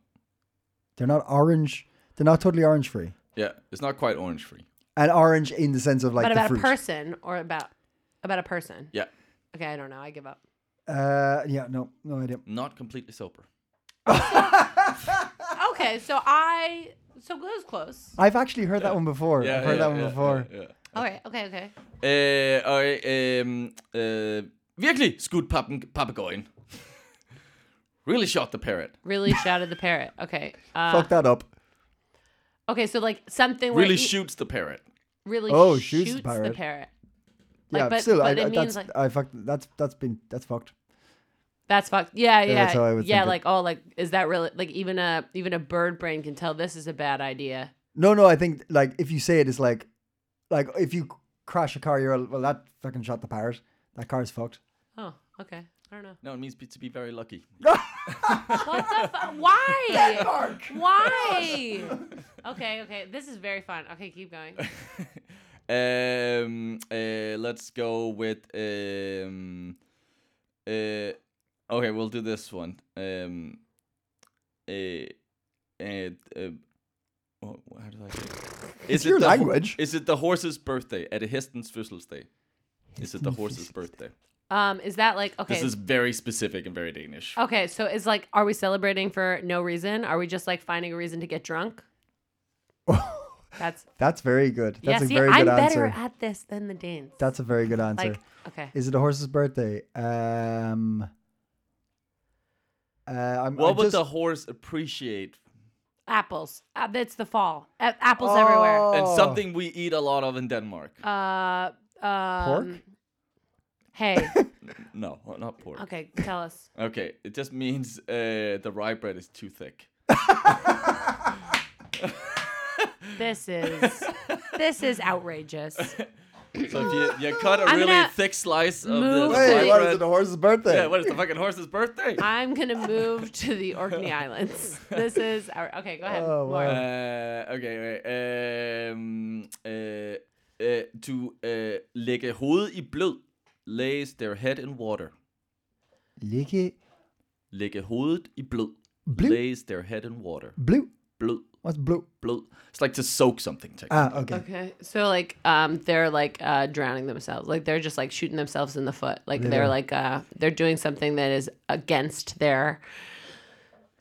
Speaker 1: They're not orange. They're not totally orange free.
Speaker 2: Yeah. It's not quite orange free.
Speaker 1: And orange in the sense of like
Speaker 3: but
Speaker 1: the
Speaker 3: about
Speaker 1: fruit.
Speaker 3: a person or about about a person.
Speaker 2: Yeah.
Speaker 3: Okay, I don't know. I give up.
Speaker 1: uh, yeah, no, no idea.
Speaker 2: Not completely sober.
Speaker 3: Okay, so I so it was close.
Speaker 1: I've actually heard that one before. I've heard that one before.
Speaker 2: Yeah, yeah.
Speaker 3: Okay, okay, okay.
Speaker 2: Øh, og øhm, øh, virkelig skudt pappen, papegøjen. really shot the parrot.
Speaker 3: Really shouted the parrot. Okay. Uh,
Speaker 1: Fuck that up.
Speaker 3: okay, so like something where
Speaker 2: Really
Speaker 3: it
Speaker 2: shoots the parrot.
Speaker 3: really
Speaker 1: Oh,
Speaker 3: shoots,
Speaker 1: shoots the
Speaker 3: the
Speaker 1: parrot.
Speaker 3: parrot.
Speaker 1: yeah,
Speaker 3: but-
Speaker 1: still,
Speaker 3: but
Speaker 1: I,
Speaker 3: it
Speaker 1: I,
Speaker 3: means,
Speaker 1: that's
Speaker 3: like-
Speaker 1: I fucked. That's that's been that's fucked.
Speaker 3: That's fucked. Yeah, yeah.
Speaker 1: that's how I would
Speaker 3: yeah,
Speaker 1: think it.
Speaker 3: like oh, like is that really like even a even a bird brain can tell this is a bad idea.
Speaker 1: No, no, I think like if you say it, it's like, like if you crash a car, you're all, well that fucking shot the parrot. That car's fucked.
Speaker 3: Oh, okay. I don't know.
Speaker 2: No, it means be, to be very lucky.
Speaker 3: What the fuck? Why? Why? okay, okay. This is very fun. Okay, keep going.
Speaker 2: um, uh, let's go with um, uh, okay, we'll do this one. Um, uh, uh, uh, wha- how did I do it? Is
Speaker 1: It's your
Speaker 2: the ho-
Speaker 1: language.
Speaker 2: is it the horse's birthday? At a hestens fødselsdag. Is it the horse's birthday?
Speaker 3: Um, is that like okay? Oh,
Speaker 2: This is very specific and very Danish.
Speaker 3: okay, so it's like, are we celebrating for no reason? Are we just like finding a reason to get drunk? That's
Speaker 1: That's very good. That's
Speaker 3: yeah.
Speaker 1: a
Speaker 3: See,
Speaker 1: very
Speaker 3: I'm
Speaker 1: good
Speaker 3: better
Speaker 1: answer.
Speaker 3: at this than the Danes.
Speaker 1: that's a very good answer.
Speaker 3: like okay.
Speaker 1: Is it a horse's birthday? Um. Uh, I'm,
Speaker 2: What
Speaker 1: I
Speaker 2: would
Speaker 1: just,
Speaker 2: the horse appreciate?
Speaker 3: apples. Uh, it's the fall. A- apples everywhere.
Speaker 2: And
Speaker 1: Oh.
Speaker 2: something we eat a lot of in Denmark.
Speaker 3: Uh, um,
Speaker 1: pork?
Speaker 3: Hey.
Speaker 2: no, not pork.
Speaker 3: Okay, tell us.
Speaker 2: Okay, it just means uh, the rye bread is too thick.
Speaker 3: This is this is outrageous.
Speaker 2: So if you, you cut a
Speaker 3: I'm
Speaker 2: really
Speaker 3: gonna
Speaker 2: thick slice of the
Speaker 3: move
Speaker 1: Wait,
Speaker 2: flatbread-
Speaker 1: what is it? The horse's birthday.
Speaker 2: Yeah, what is the fucking horse's birthday?
Speaker 3: I'm gonna move to the Orkney Islands. This is our okay. Go ahead.
Speaker 1: Oh,
Speaker 3: Laura.
Speaker 1: wow.
Speaker 2: Uh, okay, wait. Um, uh, uh, to uh, lægge hovedet i blød, lays their head in water.
Speaker 1: Lick it.
Speaker 2: Lægge hovedet i blød,
Speaker 1: Blød?
Speaker 2: lays their head in water.
Speaker 1: Blue.
Speaker 2: Blød,
Speaker 1: What's blue?
Speaker 2: blød. It's like to soak something. technically.
Speaker 1: Ah, okay.
Speaker 3: Okay, so like um, they're like uh, drowning themselves, like they're just like shooting themselves in the foot, like
Speaker 1: Yeah.
Speaker 3: they're like uh, they're doing something that is against their,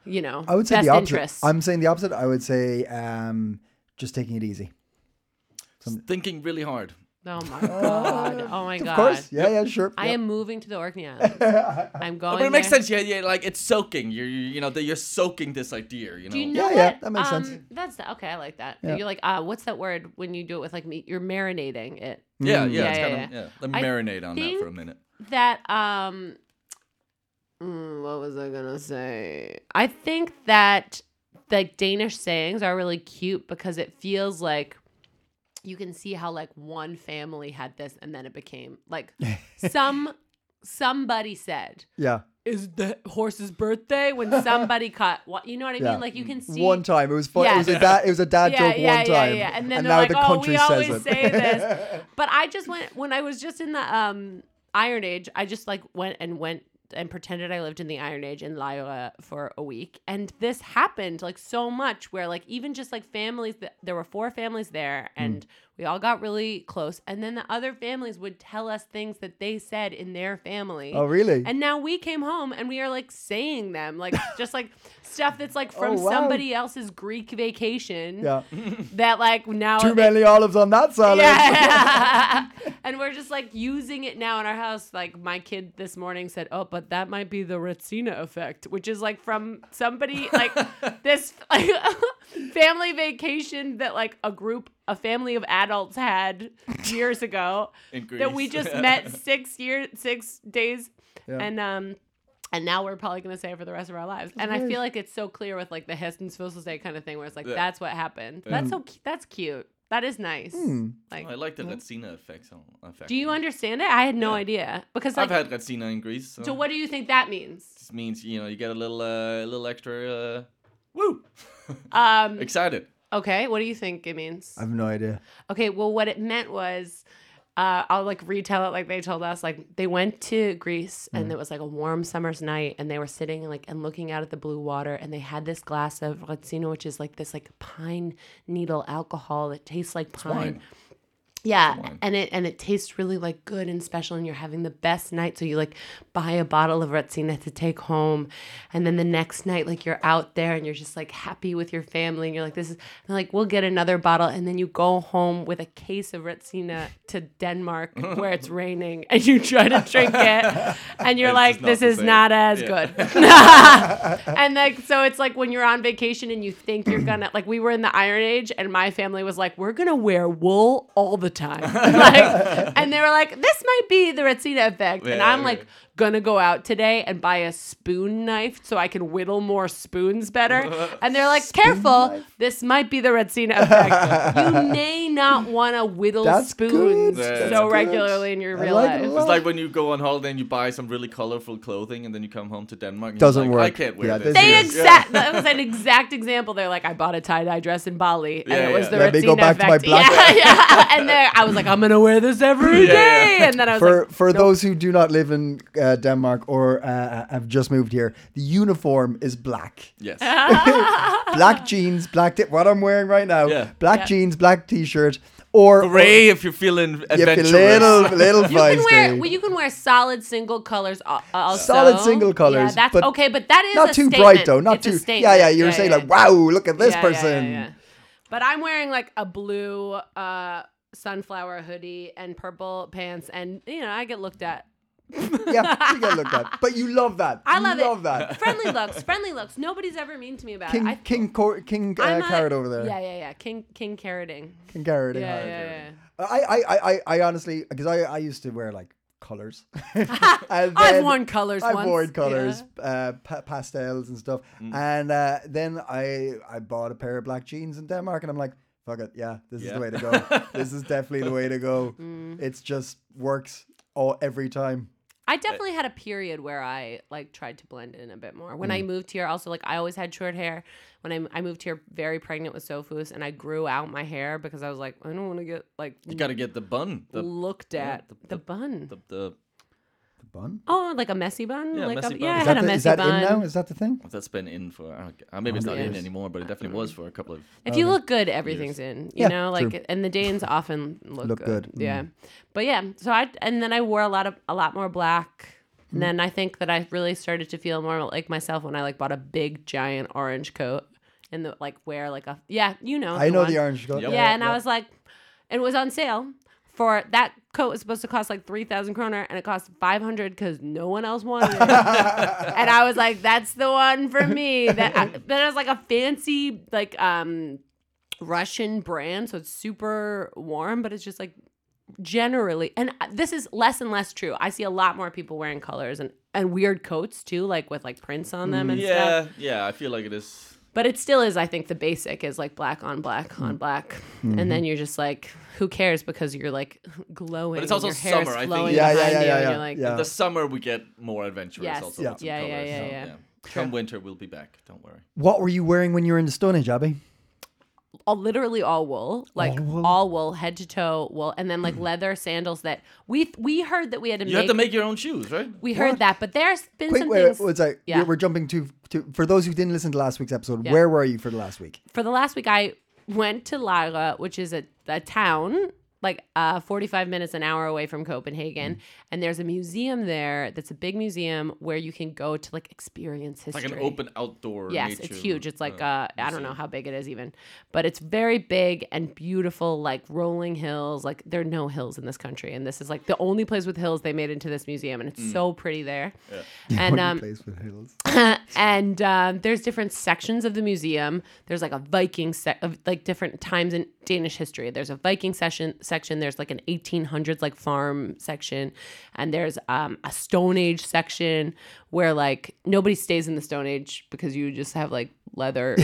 Speaker 3: you know,
Speaker 1: I would say
Speaker 3: best
Speaker 1: the opposite.
Speaker 3: interests.
Speaker 1: I'm saying the opposite. I would say um, just taking it easy.
Speaker 2: Thinking really hard.
Speaker 3: oh my god! Oh my god!
Speaker 1: Of course. Yeah, yeah, sure.
Speaker 3: I
Speaker 1: Yep.
Speaker 3: am moving to the Orkney Islands. I'm going.
Speaker 2: But it makes
Speaker 3: there.
Speaker 2: sense. Yeah, yeah. Like it's soaking. You're, you, you know, that you're soaking this idea. You know.
Speaker 3: Do you know
Speaker 1: Yeah, yeah,
Speaker 3: what? Um,
Speaker 1: that makes sense.
Speaker 3: That's the, okay. I like that.
Speaker 1: Yeah.
Speaker 3: You're like, uh, what's that word when you do it with like meat? You're marinating it.
Speaker 2: yeah, yeah.
Speaker 1: Mm.
Speaker 2: Yeah, it's
Speaker 3: Yeah,
Speaker 2: kind
Speaker 3: yeah,
Speaker 2: Of,
Speaker 3: yeah.
Speaker 2: yeah. Let
Speaker 3: I
Speaker 2: me marinate on that for a
Speaker 3: think-
Speaker 2: minute.
Speaker 3: that um mm, what was i gonna say i think that like danish sayings are really cute because it feels like you can see how like one family had this and then it became like some somebody said
Speaker 1: Yeah.
Speaker 3: is the horse's birthday when somebody caught what you know what i
Speaker 1: Yeah. Mm.
Speaker 3: mean like you can see
Speaker 1: One time. It was fun. It
Speaker 3: Yeah.
Speaker 1: was a dad. It was a dad joke one time.
Speaker 3: yeah, yeah. And then they're
Speaker 1: now
Speaker 3: like,
Speaker 1: the
Speaker 3: oh,
Speaker 1: country
Speaker 3: we
Speaker 1: says
Speaker 3: always
Speaker 1: it.
Speaker 3: say this. But I just went when I was just in the um Iron Age, I just like went and went and pretended I lived in the Iron Age in Lyra for a week. And this happened like so much where like even just like families that there were four families there
Speaker 1: Hmm.
Speaker 3: and we all got really close. And then the other families would tell us things that they said in their family.
Speaker 1: oh, really?
Speaker 3: And now we came home and we are like saying them, like just like stuff that's like from
Speaker 1: Oh, wow.
Speaker 3: somebody else's Greek vacation
Speaker 1: yeah.
Speaker 3: that like now
Speaker 1: Too many olives on that eh? salad.
Speaker 3: Oh, yeah and we're just like using it now in our house like my kid this morning said oh but that might be the Retsina effect which is like from somebody like this like, family vacation that like a group a family of adults had years ago
Speaker 2: In Greece.
Speaker 3: that we just met six years six days
Speaker 1: Yeah.
Speaker 3: and um and now we're probably going to say it for the rest of our lilives. And I
Speaker 1: great.
Speaker 3: feel like it's so clear with like the Heston's Fossil Day kind of thing where it's like,
Speaker 2: Yeah.
Speaker 3: that's what happened. That's so cu- that's cute. That is nice.
Speaker 1: Hmm.
Speaker 3: Like,
Speaker 2: I like the Retsina effect. so- effect.
Speaker 3: do you understand it? I had no
Speaker 2: Yeah.
Speaker 3: idea. Because
Speaker 2: I've
Speaker 3: like,
Speaker 2: had Retsina in Greece. So,
Speaker 3: so what do you think that means?
Speaker 2: This means you know you get a little, uh, a little extra. Uh, woo!
Speaker 3: Um,
Speaker 2: Excited.
Speaker 3: okay. What do you think it means?
Speaker 1: I have no idea.
Speaker 3: Okay, well, what it meant was, uh, I'll like retell it like they told us. Like they went to Greece and it was like a warm summer's night, and they were sitting like and looking out at the blue water, and they had this glass of Razzino, which is like this like pine needle alcohol that tastes like pine.
Speaker 2: Fine.
Speaker 3: Yeah,
Speaker 2: wine.
Speaker 3: and it and it tastes really like good and special, and you're having the best night. So you like buy a bottle of Retsina to take home, and then the next night, like you're out there and you're just like happy with your family, and you're like, this is and they're like we'll get another bottle, and then you go home with a case of Retsina to Denmark where it's raining, and you try to drink it, and you're
Speaker 2: It's
Speaker 3: like,
Speaker 2: just not
Speaker 3: this
Speaker 2: the
Speaker 3: is
Speaker 2: same.
Speaker 3: not as
Speaker 2: Yeah.
Speaker 3: good. and like so, it's like when you're on vacation and you think you're gonna like we were in the Iron Age, and my family was like, we're gonna wear wool all the time, like, and they were like, this might be the Retsina effect, and
Speaker 2: Yeah,
Speaker 3: I'm
Speaker 2: yeah.
Speaker 3: like. Gonna go out today and buy a spoon knife so I can whittle more spoons better. And they're like, careful,
Speaker 1: knife?
Speaker 3: this might be the Retsina effect. you may not want to whittle
Speaker 1: That's good.
Speaker 3: spoons
Speaker 2: That's
Speaker 3: so
Speaker 2: good.
Speaker 3: regularly in your
Speaker 1: I
Speaker 3: real
Speaker 1: like it a
Speaker 3: life.
Speaker 1: lot.
Speaker 2: It's like when you go on holiday and you buy some really colorful clothing, and then you come home to Denmark. And you're
Speaker 1: Doesn't
Speaker 2: like,
Speaker 1: work.
Speaker 2: I can't wear
Speaker 1: Yeah,
Speaker 2: this.
Speaker 1: this
Speaker 3: They
Speaker 1: Yeah.
Speaker 3: exact. That was an exact example. They're like, I bought a tie dye dress in Bali, and
Speaker 2: Yeah,
Speaker 3: it was
Speaker 2: yeah.
Speaker 3: the
Speaker 1: Let me go
Speaker 3: Retsina
Speaker 1: back to my
Speaker 3: effect.
Speaker 1: black-
Speaker 3: yeah, yeah. And then I was like, I'm gonna wear this every
Speaker 2: Yeah,
Speaker 3: day.
Speaker 2: yeah.
Speaker 3: And then I was
Speaker 1: For
Speaker 3: like,
Speaker 1: for those who do not live in uh, Denmark or uh, have just moved here, the uniform is black.
Speaker 2: Yes.
Speaker 1: Black jeans, black t- what I'm wearing right now.
Speaker 2: Yeah.
Speaker 1: Black
Speaker 3: Yeah.
Speaker 1: jeans, black t-shirt, or
Speaker 2: Hooray if you're feeling
Speaker 1: Or, if you
Speaker 2: adventurous.
Speaker 1: little little
Speaker 3: You can wear
Speaker 1: feisty.
Speaker 3: well, you can wear solid single colors al- also.
Speaker 1: Solid single colours,
Speaker 3: Yeah, that's
Speaker 1: but
Speaker 3: okay, but that is
Speaker 1: not
Speaker 3: a
Speaker 1: too
Speaker 3: statement.
Speaker 1: bright though. Not
Speaker 3: It's a
Speaker 1: too. Yeah,
Speaker 3: statement.
Speaker 1: yeah. You're saying
Speaker 3: yeah.
Speaker 1: like, wow, look at this
Speaker 3: Yeah, yeah, yeah,
Speaker 1: person.
Speaker 3: yeah. But I'm wearing like a blue uh, sunflower hoodie and purple pants, and you know I get looked at.
Speaker 1: yeah, you get looked at. But you love that.
Speaker 3: I
Speaker 1: You
Speaker 3: love,
Speaker 1: love
Speaker 3: it.
Speaker 1: that.
Speaker 3: Friendly looks, friendly looks. Nobody's ever mean to me about
Speaker 1: King
Speaker 3: it. I,
Speaker 1: King Cor- King uh,
Speaker 3: I'm a-
Speaker 1: Carrot over there.
Speaker 3: Yeah, yeah, yeah. King King Carroting.
Speaker 1: King Carrot.
Speaker 3: Yeah,
Speaker 1: Yeah.
Speaker 3: yeah, yeah.
Speaker 1: I I I I- I honestly because I I used to wear like colors.
Speaker 3: I've worn colors.
Speaker 1: I've
Speaker 3: once.
Speaker 1: worn colors,
Speaker 3: Yeah.
Speaker 1: uh, pa- pastels and stuff.
Speaker 2: Mm.
Speaker 1: And uh, then I I bought a pair of black jeans in Denmark, and I'm like, fuck it, yeah, this is
Speaker 2: Yeah.
Speaker 1: the way to go. this is definitely the way to go.
Speaker 3: Mm.
Speaker 1: It's just works all every time.
Speaker 3: I definitely had a period where I like tried to blend in a bit more. When
Speaker 1: Mm.
Speaker 3: I moved here, also like I always had short hair. When I, I moved here, very pregnant with Sofus, and I grew out my hair because I was like, I don't want to get like
Speaker 2: You gotta get the bun. The
Speaker 3: looked
Speaker 2: yeah,
Speaker 3: at
Speaker 2: the-
Speaker 3: the, bun.
Speaker 2: the, the
Speaker 1: The bun.
Speaker 3: oh, like a messy bun.
Speaker 2: Yeah,
Speaker 3: like
Speaker 2: messy
Speaker 3: a,
Speaker 2: bun.
Speaker 3: yeah, I
Speaker 1: Is
Speaker 2: Is
Speaker 3: had
Speaker 1: that,
Speaker 3: a
Speaker 1: the-
Speaker 3: messy
Speaker 1: is that
Speaker 3: bun.
Speaker 1: in now? Is that the thing?
Speaker 2: that's been in for I don't- uh, maybe it's not in
Speaker 3: Yes.
Speaker 2: anymore, but it definitely was for a couple of.
Speaker 3: If you look good, everything's in. You
Speaker 1: Yeah,
Speaker 3: know,
Speaker 1: true.
Speaker 3: like and the Danes often look,
Speaker 1: Look
Speaker 3: good.
Speaker 1: good, Mm.
Speaker 3: Yeah. But yeah, so I and then I wore a lot of a lot more black.
Speaker 1: Mm-hmm.
Speaker 3: And then I think that I really started to feel more like myself when I like bought a big giant orange coat and the, like wear like a yeah, you know.
Speaker 1: I know
Speaker 3: one.
Speaker 1: the orange color.
Speaker 2: Yep.
Speaker 3: Yeah, and I was like it was on sale for that coat was supposed to cost like 3000 kroner and it cost 500 cuz no one else wanted it. and I was like, "That's the one for me." That I, that is like a fancy like um Russian brand, so it's super warm, but it's just like generally, and uh, this is less and less true. I see a lot more people wearing colors and and weird coats too, like with like prints on them and
Speaker 2: Yeah,
Speaker 3: stuff.
Speaker 2: yeah, I feel like it is.
Speaker 3: But it still is, I think, the basic is like black on black on black,
Speaker 1: Mm-hmm.
Speaker 3: and then you're just like, who cares? Because you're like glowing.
Speaker 2: But it's
Speaker 3: and
Speaker 2: also
Speaker 3: your hair is
Speaker 2: summer, I think.
Speaker 3: flowing
Speaker 2: Yeah, yeah,
Speaker 3: behind
Speaker 1: yeah,
Speaker 3: you,
Speaker 1: yeah,
Speaker 3: and
Speaker 1: yeah,
Speaker 3: you're like,
Speaker 1: yeah.
Speaker 2: The summer we get more adventurous
Speaker 3: Yes.
Speaker 2: also.
Speaker 1: Yeah.
Speaker 2: with some
Speaker 3: Yeah, yeah,
Speaker 2: colours,
Speaker 3: yeah,
Speaker 2: so,
Speaker 3: yeah.
Speaker 2: Come winter, we'll be back. Don't worry.
Speaker 1: What were you wearing when you were in the Stone Age, Abby?
Speaker 3: all literally all wool, like all
Speaker 1: All
Speaker 3: wool,
Speaker 1: wool? Mm-hmm.
Speaker 3: head to toe wool, and then like leather sandals that we we heard that we had to
Speaker 2: You
Speaker 3: make.
Speaker 2: have to make your own shoes, right?
Speaker 3: we heard that, but there's been
Speaker 1: Quick,
Speaker 3: some
Speaker 1: wait,
Speaker 3: things
Speaker 1: wait, it's like
Speaker 3: Yeah.
Speaker 1: we're jumping to, to. For those who didn't listen to last week's episode,
Speaker 3: Yeah.
Speaker 1: where were you for the last week?
Speaker 3: for the last week. I went to Laga, which is a, a town like uh 45 minutes an hour away from Copenhagen,
Speaker 2: Mm.
Speaker 3: and there's a museum there that's a big museum where you can go to like experience
Speaker 2: It's
Speaker 3: history.
Speaker 2: like an open outdoor.
Speaker 3: Yes,
Speaker 2: nature,
Speaker 3: it's huge. It's like
Speaker 2: uh,
Speaker 3: uh, I don't know how big it is even, but it's very big and beautiful, like rolling hills. Like there are no hills in this country, and this is like the only place with hills they made into this museum, and it's
Speaker 2: Mm.
Speaker 3: so pretty there. And um,
Speaker 1: place with hills.
Speaker 3: and um, there's different sections of the museum. There's like a Viking set of like different times in Danish history. There's a Viking session section. There's like an 1800s like farm section, and there's um, a Stone Age section where like nobody stays in the Stone Age because you just have like leather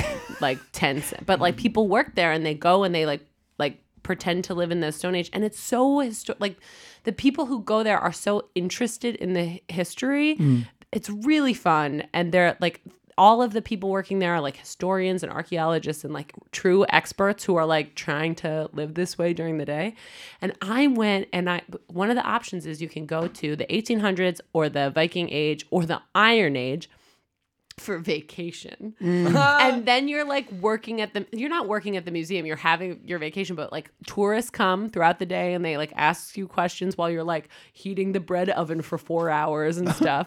Speaker 3: like tents, but like people work there and they go and they like like pretend to live in the Stone Age. And it's so histo- like the people who go there are so interested in the hi- history. It's really fun. And they're like, all of the people working there are like historians and archaeologists and like true experts who are like trying to live this way during the day. And I went and I, one of the options is you can go to the 1800s or the Viking Age or the Iron Age for vacation. and then you're like working at the you're not working at the museum, you're having your vacation, but like tourists come throughout the day and they like ask you questions while you're like heating the bread oven for 4 hours and stuff.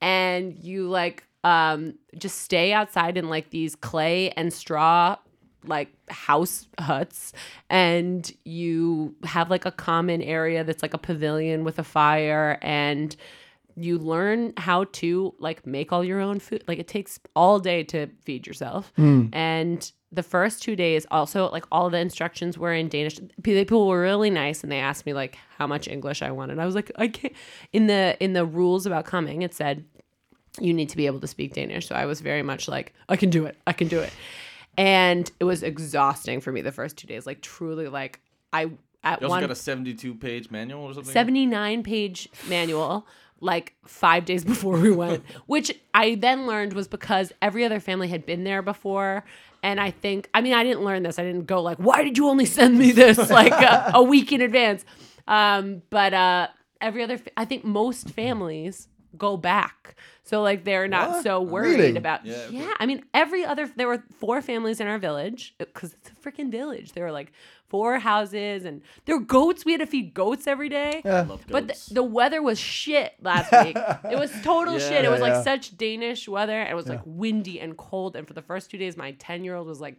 Speaker 3: and you like um just stay outside in like these clay and straw like house huts and you have like a common area that's like a pavilion with a fire and you learn how to like make all your own food like it takes all day to feed yourself and the first two days also like all the instructions were in danish P- the people were really nice and they asked me like how much english i wanted i was like i can't in the in the rules about coming it said you need to be able to speak Danish. So I was very much like, I can do it. I can do it. And it was exhausting for me the first two days. Like truly, like I at
Speaker 2: You also got
Speaker 3: one
Speaker 2: a 72 page manual or something?
Speaker 3: 79 page manual like five days before we went, which I then learned was because every other family had been there before. And I think, I mean, I didn't learn this. I didn't go like, why did you only send me this like a, a week in advance? Um, but uh, every other, fa- I think most families go back. So like they're not
Speaker 1: What?
Speaker 3: so worried
Speaker 1: Really?
Speaker 3: about.
Speaker 2: Yeah, of
Speaker 3: yeah, I mean, every other, there were four families in our village because it's a freaking village. There were like four houses and there were goats. We had to feed goats every day.
Speaker 2: I love
Speaker 3: But
Speaker 2: goats.
Speaker 3: the, the weather was shit last week. it was total
Speaker 2: Yeah.
Speaker 3: shit. It was like
Speaker 1: Yeah, yeah.
Speaker 3: such Danish weather. and It was like windy and cold. And for the first two days, my 10 year old was like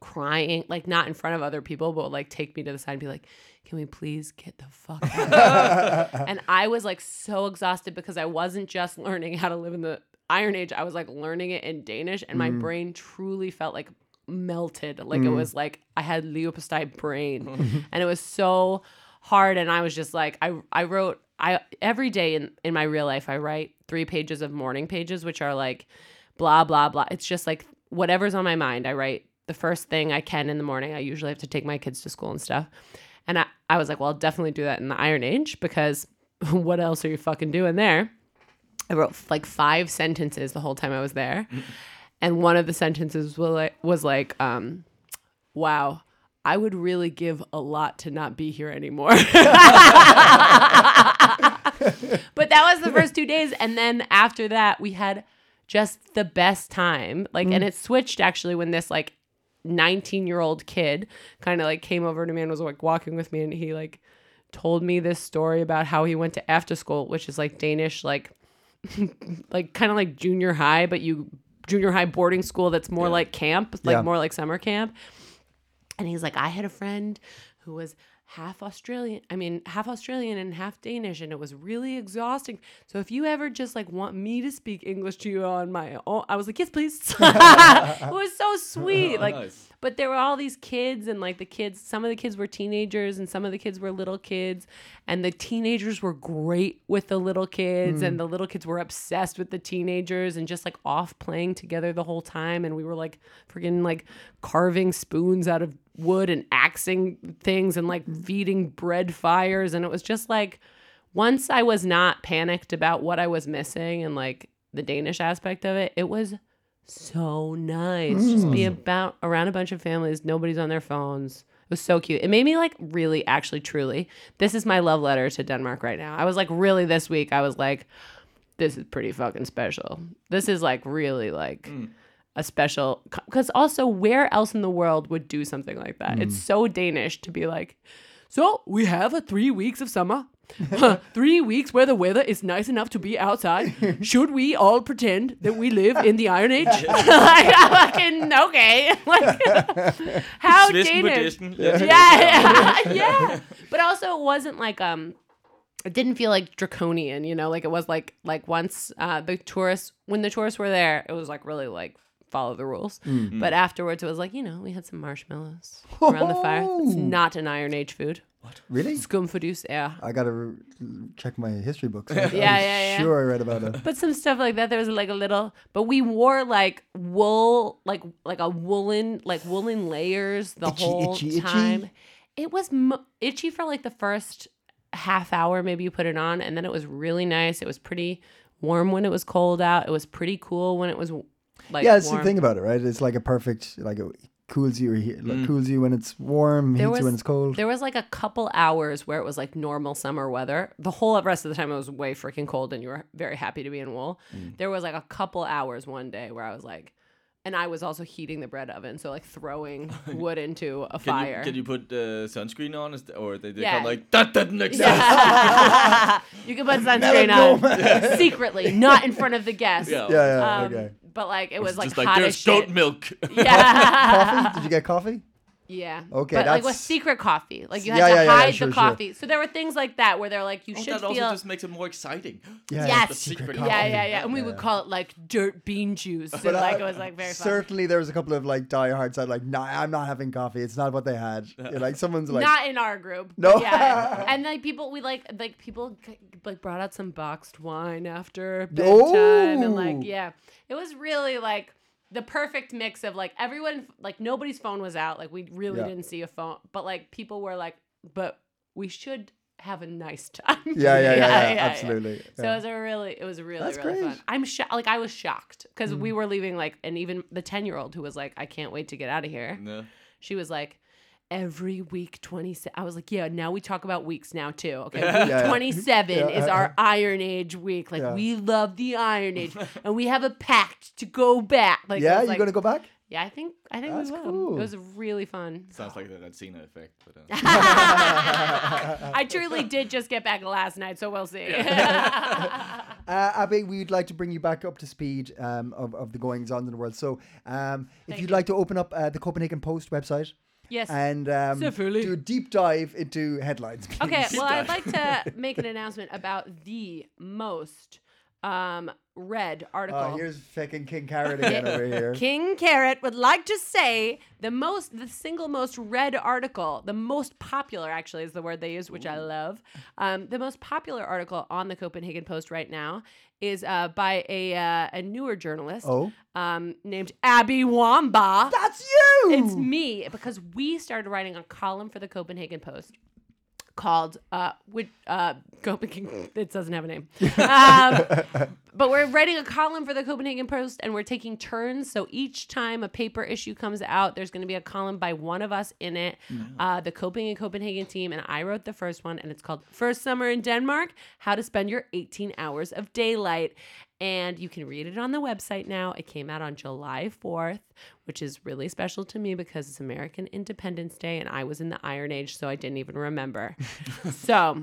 Speaker 3: crying, like not in front of other people, but would, like take me to the side and be like, can we please get the fuck out? and I was like so exhausted because I wasn't just learning how to live in the Iron Age. I was like learning it in Danish. And my brain truly felt like melted. Like it was like I had Leopoldstein brain. and it was so hard. And I was just like, I I wrote I every day in in my real life I write three pages of morning pages, which are like blah blah blah. It's just like whatever's on my mind. I write the first thing I can in the morning. I usually have to take my kids to school and stuff. And I, I was like, well, I'll definitely do that in the Iron Age because what else are you fucking doing there? I wrote like five sentences the whole time I was there. And one of the sentences was like, was like um, wow, I would really give a lot to not be here anymore. But that was the first two days. And then after that, we had just the best time. Like,
Speaker 1: Mm.
Speaker 3: and it switched actually when this like 19 year old kid kind of like came over to me and was like walking with me. And he like told me this story about how he went to after school, which is like Danish, like, like kind of like junior high, but you junior high boarding school that's more like camp, like
Speaker 1: Yeah.
Speaker 3: more like summer camp. And he's like, I had a friend who was half Australian, I mean, half Australian and half Danish, and it was really exhausting. So if you ever just like want me to speak English to you on my own, I was like, yes, please. it was so sweet. Like,
Speaker 2: nice.
Speaker 3: but there were all these kids, and like the kids, some of the kids were teenagers, and some of the kids were little kids, and the teenagers were great with the little kids, and the little kids were obsessed with the teenagers, and just like off playing together the whole time, and we were like freaking like carving spoons out of wood and axing things and like feeding bread fires, and it was just like once I was not panicked about what I was missing and like the Danish aspect of it, it was so nice. Just be about around a bunch of families. Nobody's on their phones. It was so cute. It made me like really, actually, truly. This is my love letter to Denmark right now. I was like, really, this week, I was like, this is pretty fucking special. This is like really like a special because also where else in the world would do something like that? It's so Danish to be like, so we have a three weeks of summer. Huh, three weeks where the weather is nice enough to be outside. Should we all pretend that we live in the Iron Age? like, I fucking okay. Like, how
Speaker 2: Svisten på
Speaker 3: Danish?
Speaker 2: disken. Ja.
Speaker 3: yeah, yeah, yeah. But also, it wasn't like um, it didn't feel like draconian, you know. Like it was like like once uh the tourists when the tourists were there, it was like really like follow the rules. But afterwards, it was like you know we had some marshmallows around the fire. It's
Speaker 1: Oh.
Speaker 3: not an Iron Age food.
Speaker 1: Really?
Speaker 3: Skumfudus, yeah.
Speaker 1: I gotta re- check my history books. I'm
Speaker 3: Yeah, yeah, yeah.
Speaker 1: Sure, I read about it.
Speaker 3: But some stuff like that. There was like a little, but we wore like wool, like like a woolen, like woolen layers the
Speaker 1: Itchy,
Speaker 3: whole
Speaker 1: itchy, itchy?
Speaker 3: time. It was mo- itchy for like the first half hour, maybe you put it on, and then it was really nice. It was pretty warm when it was cold out. It was pretty cool when it was like
Speaker 1: yeah, it's
Speaker 3: warm.
Speaker 1: the thing about it, right? It's like a perfect, like it cools you, he- like, cools you when it's warm, heats you when it's cold.
Speaker 3: Mm. There was like a couple hours where it was like normal summer weather. The whole rest of the time it was way freaking cold and you were very happy to be in wool.
Speaker 2: Mm.
Speaker 3: There was like a couple hours one day where I was like and I was also heating the bread oven, so like throwing wood into a
Speaker 2: Can
Speaker 3: fire.
Speaker 2: you, can you put uh, sunscreen on, Is th- or they, they
Speaker 3: Yeah.
Speaker 2: come like that doesn't exist?
Speaker 3: Yeah. you can put sunscreen on
Speaker 1: Melanoma.
Speaker 3: secretly, not in front of the guests.
Speaker 2: Yeah.
Speaker 1: yeah, yeah,
Speaker 3: Um,
Speaker 1: okay.
Speaker 3: But like it was
Speaker 2: It's
Speaker 3: like
Speaker 2: just
Speaker 3: hot
Speaker 2: like there's
Speaker 3: as
Speaker 2: goat
Speaker 3: shit.
Speaker 2: milk.
Speaker 3: Yeah.
Speaker 1: Coffee? Did you get coffee?
Speaker 3: Yeah.
Speaker 1: Okay,
Speaker 3: But like with
Speaker 1: that's-
Speaker 3: secret coffee, like you had
Speaker 1: Yeah,
Speaker 3: to
Speaker 1: yeah, yeah, yeah,
Speaker 3: hide
Speaker 1: sure,
Speaker 3: the
Speaker 1: sure.
Speaker 3: coffee. So there were things like that where they're like, you
Speaker 2: Oh,
Speaker 3: should
Speaker 2: that also
Speaker 3: feel.
Speaker 2: just makes it more exciting.
Speaker 1: Yeah.
Speaker 3: Yes.
Speaker 1: the secret
Speaker 2: Secret
Speaker 1: coffee.
Speaker 3: yeah, yeah, yeah. And we
Speaker 1: Yeah,
Speaker 3: would
Speaker 1: yeah.
Speaker 3: call it like dirt bean juice. And,
Speaker 1: I-
Speaker 3: like it was like very fun.
Speaker 1: Certainly, there was a couple of like diehards that like, nah, I'm not having coffee. It's not what they had. You're like someone's like,
Speaker 3: Not in our group.
Speaker 1: No.
Speaker 3: but Yeah. and like people, we like like people c- like brought out some boxed wine after bedtime, and like
Speaker 1: Oh.
Speaker 3: yeah, it was really like the perfect mix of like everyone like nobody's phone was out. Like we really
Speaker 1: Yeah.
Speaker 3: didn't see a phone, but like people were like, but we should have a nice time.
Speaker 1: yeah, yeah, yeah, yeah, absolutely.
Speaker 3: So
Speaker 1: yeah.
Speaker 3: it was a really, it was really,
Speaker 1: That's
Speaker 3: really
Speaker 1: great. Mm.
Speaker 3: fun. I'm sho- like I was shocked because we were leaving like, and even the ten year old who was like, I can't wait to get out of here.
Speaker 2: No.
Speaker 3: She was like, every week twenty. I was like, yeah. Now we talk about weeks now too. Okay, week
Speaker 1: Yeah.
Speaker 3: twenty seven
Speaker 1: Yeah.
Speaker 3: is our Iron Age week. Like
Speaker 1: Yeah.
Speaker 3: we love the Iron Age, and we have a pact to go back. Like it
Speaker 1: yeah,
Speaker 3: was
Speaker 1: you're
Speaker 3: like-
Speaker 1: gonna go back?
Speaker 3: Yeah, I think I think
Speaker 1: That's
Speaker 3: we will.
Speaker 1: cool.
Speaker 3: It was really fun.
Speaker 2: Sounds like that Cena effect. But, uh,
Speaker 3: I truly did just get back last night, so we'll see.
Speaker 1: Uh, Abby, we'd like to bring you back up to speed um, of, of the goings on in the world. So, um, if
Speaker 3: Thank
Speaker 1: you'd
Speaker 3: you.
Speaker 1: like to open up uh, the Copenhagen Post website
Speaker 3: yes.
Speaker 1: and um,
Speaker 3: Selvfølgelig.
Speaker 1: do a deep dive into headlines. please.
Speaker 3: Okay, well, I'd like to make an announcement about the most um, read article.
Speaker 1: Oh, here's fucking King Carrot again over here.
Speaker 3: King Carrot would like to say the most, the single most read article, the most popular actually is the word they use, which I love. Um, the most popular article on the Copenhagen Post right now is uh, by a uh, a newer journalist
Speaker 1: Oh,
Speaker 3: um, named Abby Wamba.
Speaker 1: that's you.
Speaker 3: It's me because we started writing a column for the Copenhagen Post called uh, which, uh, Copenhagen. It doesn't have a name. Um, but we're writing a column for the Copenhagen Post, and we're taking turns. So each time a paper issue comes out, there's going to be a column by one of us in it. Uh, the Coping and Copenhagen team, and I wrote the first one, and it's called First Summer in Denmark: How to Spend Your 18 Hours of Daylight. And you can read it on the website now. It came out on July 4th, which is really special to me because it's American Independence Day and I was in the Iron Age, so I didn't even remember. so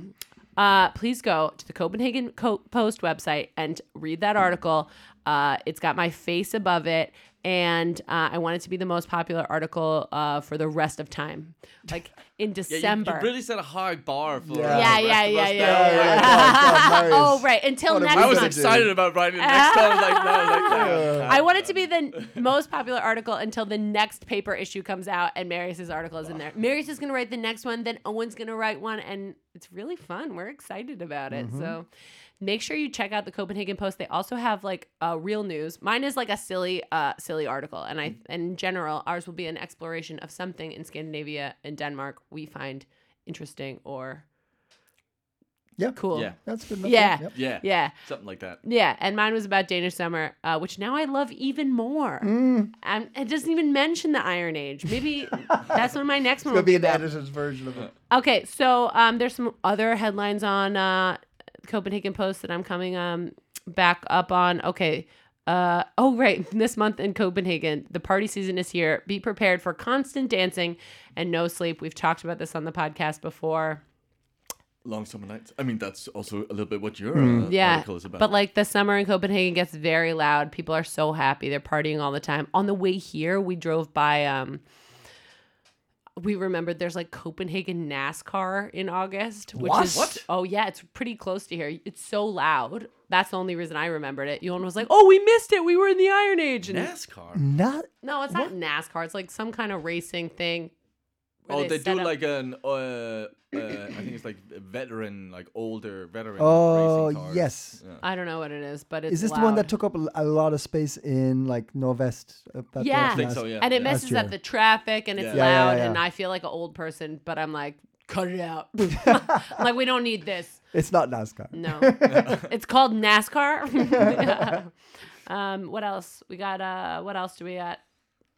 Speaker 3: uh, please go to the Copenhagen Co- Post website and read that article. Uh, it's got my face above it, and uh, I want it to be the most popular article uh, for the rest of time, like in
Speaker 2: Yeah, you-
Speaker 3: December.
Speaker 2: You, really set a high bar for.
Speaker 1: Yeah.
Speaker 2: uh,
Speaker 3: yeah,
Speaker 2: the
Speaker 3: yeah,
Speaker 2: rest of
Speaker 3: yeah,
Speaker 2: us
Speaker 3: yeah,
Speaker 2: there.
Speaker 1: Oh, yeah, God, God,
Speaker 3: Oh,
Speaker 1: nice.
Speaker 3: right. Until
Speaker 1: What a
Speaker 3: next
Speaker 2: I was
Speaker 1: That's
Speaker 3: month.
Speaker 1: ex-
Speaker 2: excited about writing it next time. Like, no, like, "Oh, yeah.
Speaker 3: I want it to be the most popular article until the next paper issue comes out and Marius's article is in there. Marius is going to write the next one, then Owen's going to write one, and it's really fun. We're excited about it. So make sure you check out the Copenhagen Post. They also have like uh, real news. Mine is like a silly, uh, silly article, and I, in general, ours will be an exploration of something in Scandinavia and Denmark we find interesting or
Speaker 1: Yeah.
Speaker 3: cool.
Speaker 2: Yeah.
Speaker 1: That's good. enough.
Speaker 3: Yeah.
Speaker 1: Yep.
Speaker 2: yeah,
Speaker 3: Yeah.
Speaker 2: something like that.
Speaker 3: Yeah, and mine was about Danish summer, uh, which now I love even more.
Speaker 1: Mm.
Speaker 3: Um, it doesn't even mention the Iron Age. Maybe that's when my next one will
Speaker 1: Could be
Speaker 3: be
Speaker 1: an
Speaker 3: about.
Speaker 1: editor's version of it.
Speaker 3: Okay, so um, there's some other headlines on uh, Copenhagen Post that I'm coming um, back up on. Okay. Uh, oh, right. This month in Copenhagen, the party season is here. Be prepared for constant dancing and no sleep. We've talked about this on the podcast before.
Speaker 2: Long summer nights. I mean, that's also a little bit what your
Speaker 1: Mm.
Speaker 2: uh,
Speaker 3: yeah,
Speaker 2: article is about.
Speaker 3: but like the summer in Copenhagen gets very loud. People are so happy; they're partying all the time. On the way here, we drove by. um We remembered there's like Copenhagen NASCAR in August, which
Speaker 1: What?
Speaker 3: is
Speaker 1: What?
Speaker 3: oh yeah, it's pretty close to here. It's so loud. That's the only reason I remembered it. Yohan was like, "Oh, we missed it. We were in the Iron Age." And
Speaker 2: NASCAR.
Speaker 1: Not
Speaker 3: no, it's not NASCAR. It's like some kind of racing thing. where
Speaker 2: Oh, they,
Speaker 3: set
Speaker 2: do
Speaker 3: up-
Speaker 2: like an uh, uh, I think it's like a veteran, like older veteran.
Speaker 1: Oh,
Speaker 2: racing cars.
Speaker 1: yes.
Speaker 2: Yeah.
Speaker 3: I don't know what it is, but it's
Speaker 1: Is this the one
Speaker 3: loud.
Speaker 1: that took up a, a lot of space in like Norvest? Uh, that
Speaker 3: Yeah.
Speaker 1: was
Speaker 3: I think
Speaker 1: last-
Speaker 2: so, yeah.
Speaker 3: and it
Speaker 1: Last
Speaker 3: messes up
Speaker 1: year.
Speaker 3: the traffic and it's
Speaker 2: Yeah.
Speaker 1: Yeah, yeah,
Speaker 3: loud
Speaker 1: yeah.
Speaker 3: and i feel like an old person but i'm like cut it out I'm like we don't need this
Speaker 1: It's not NASCAR.
Speaker 3: no it's called nascar um what else we got uh what else do we got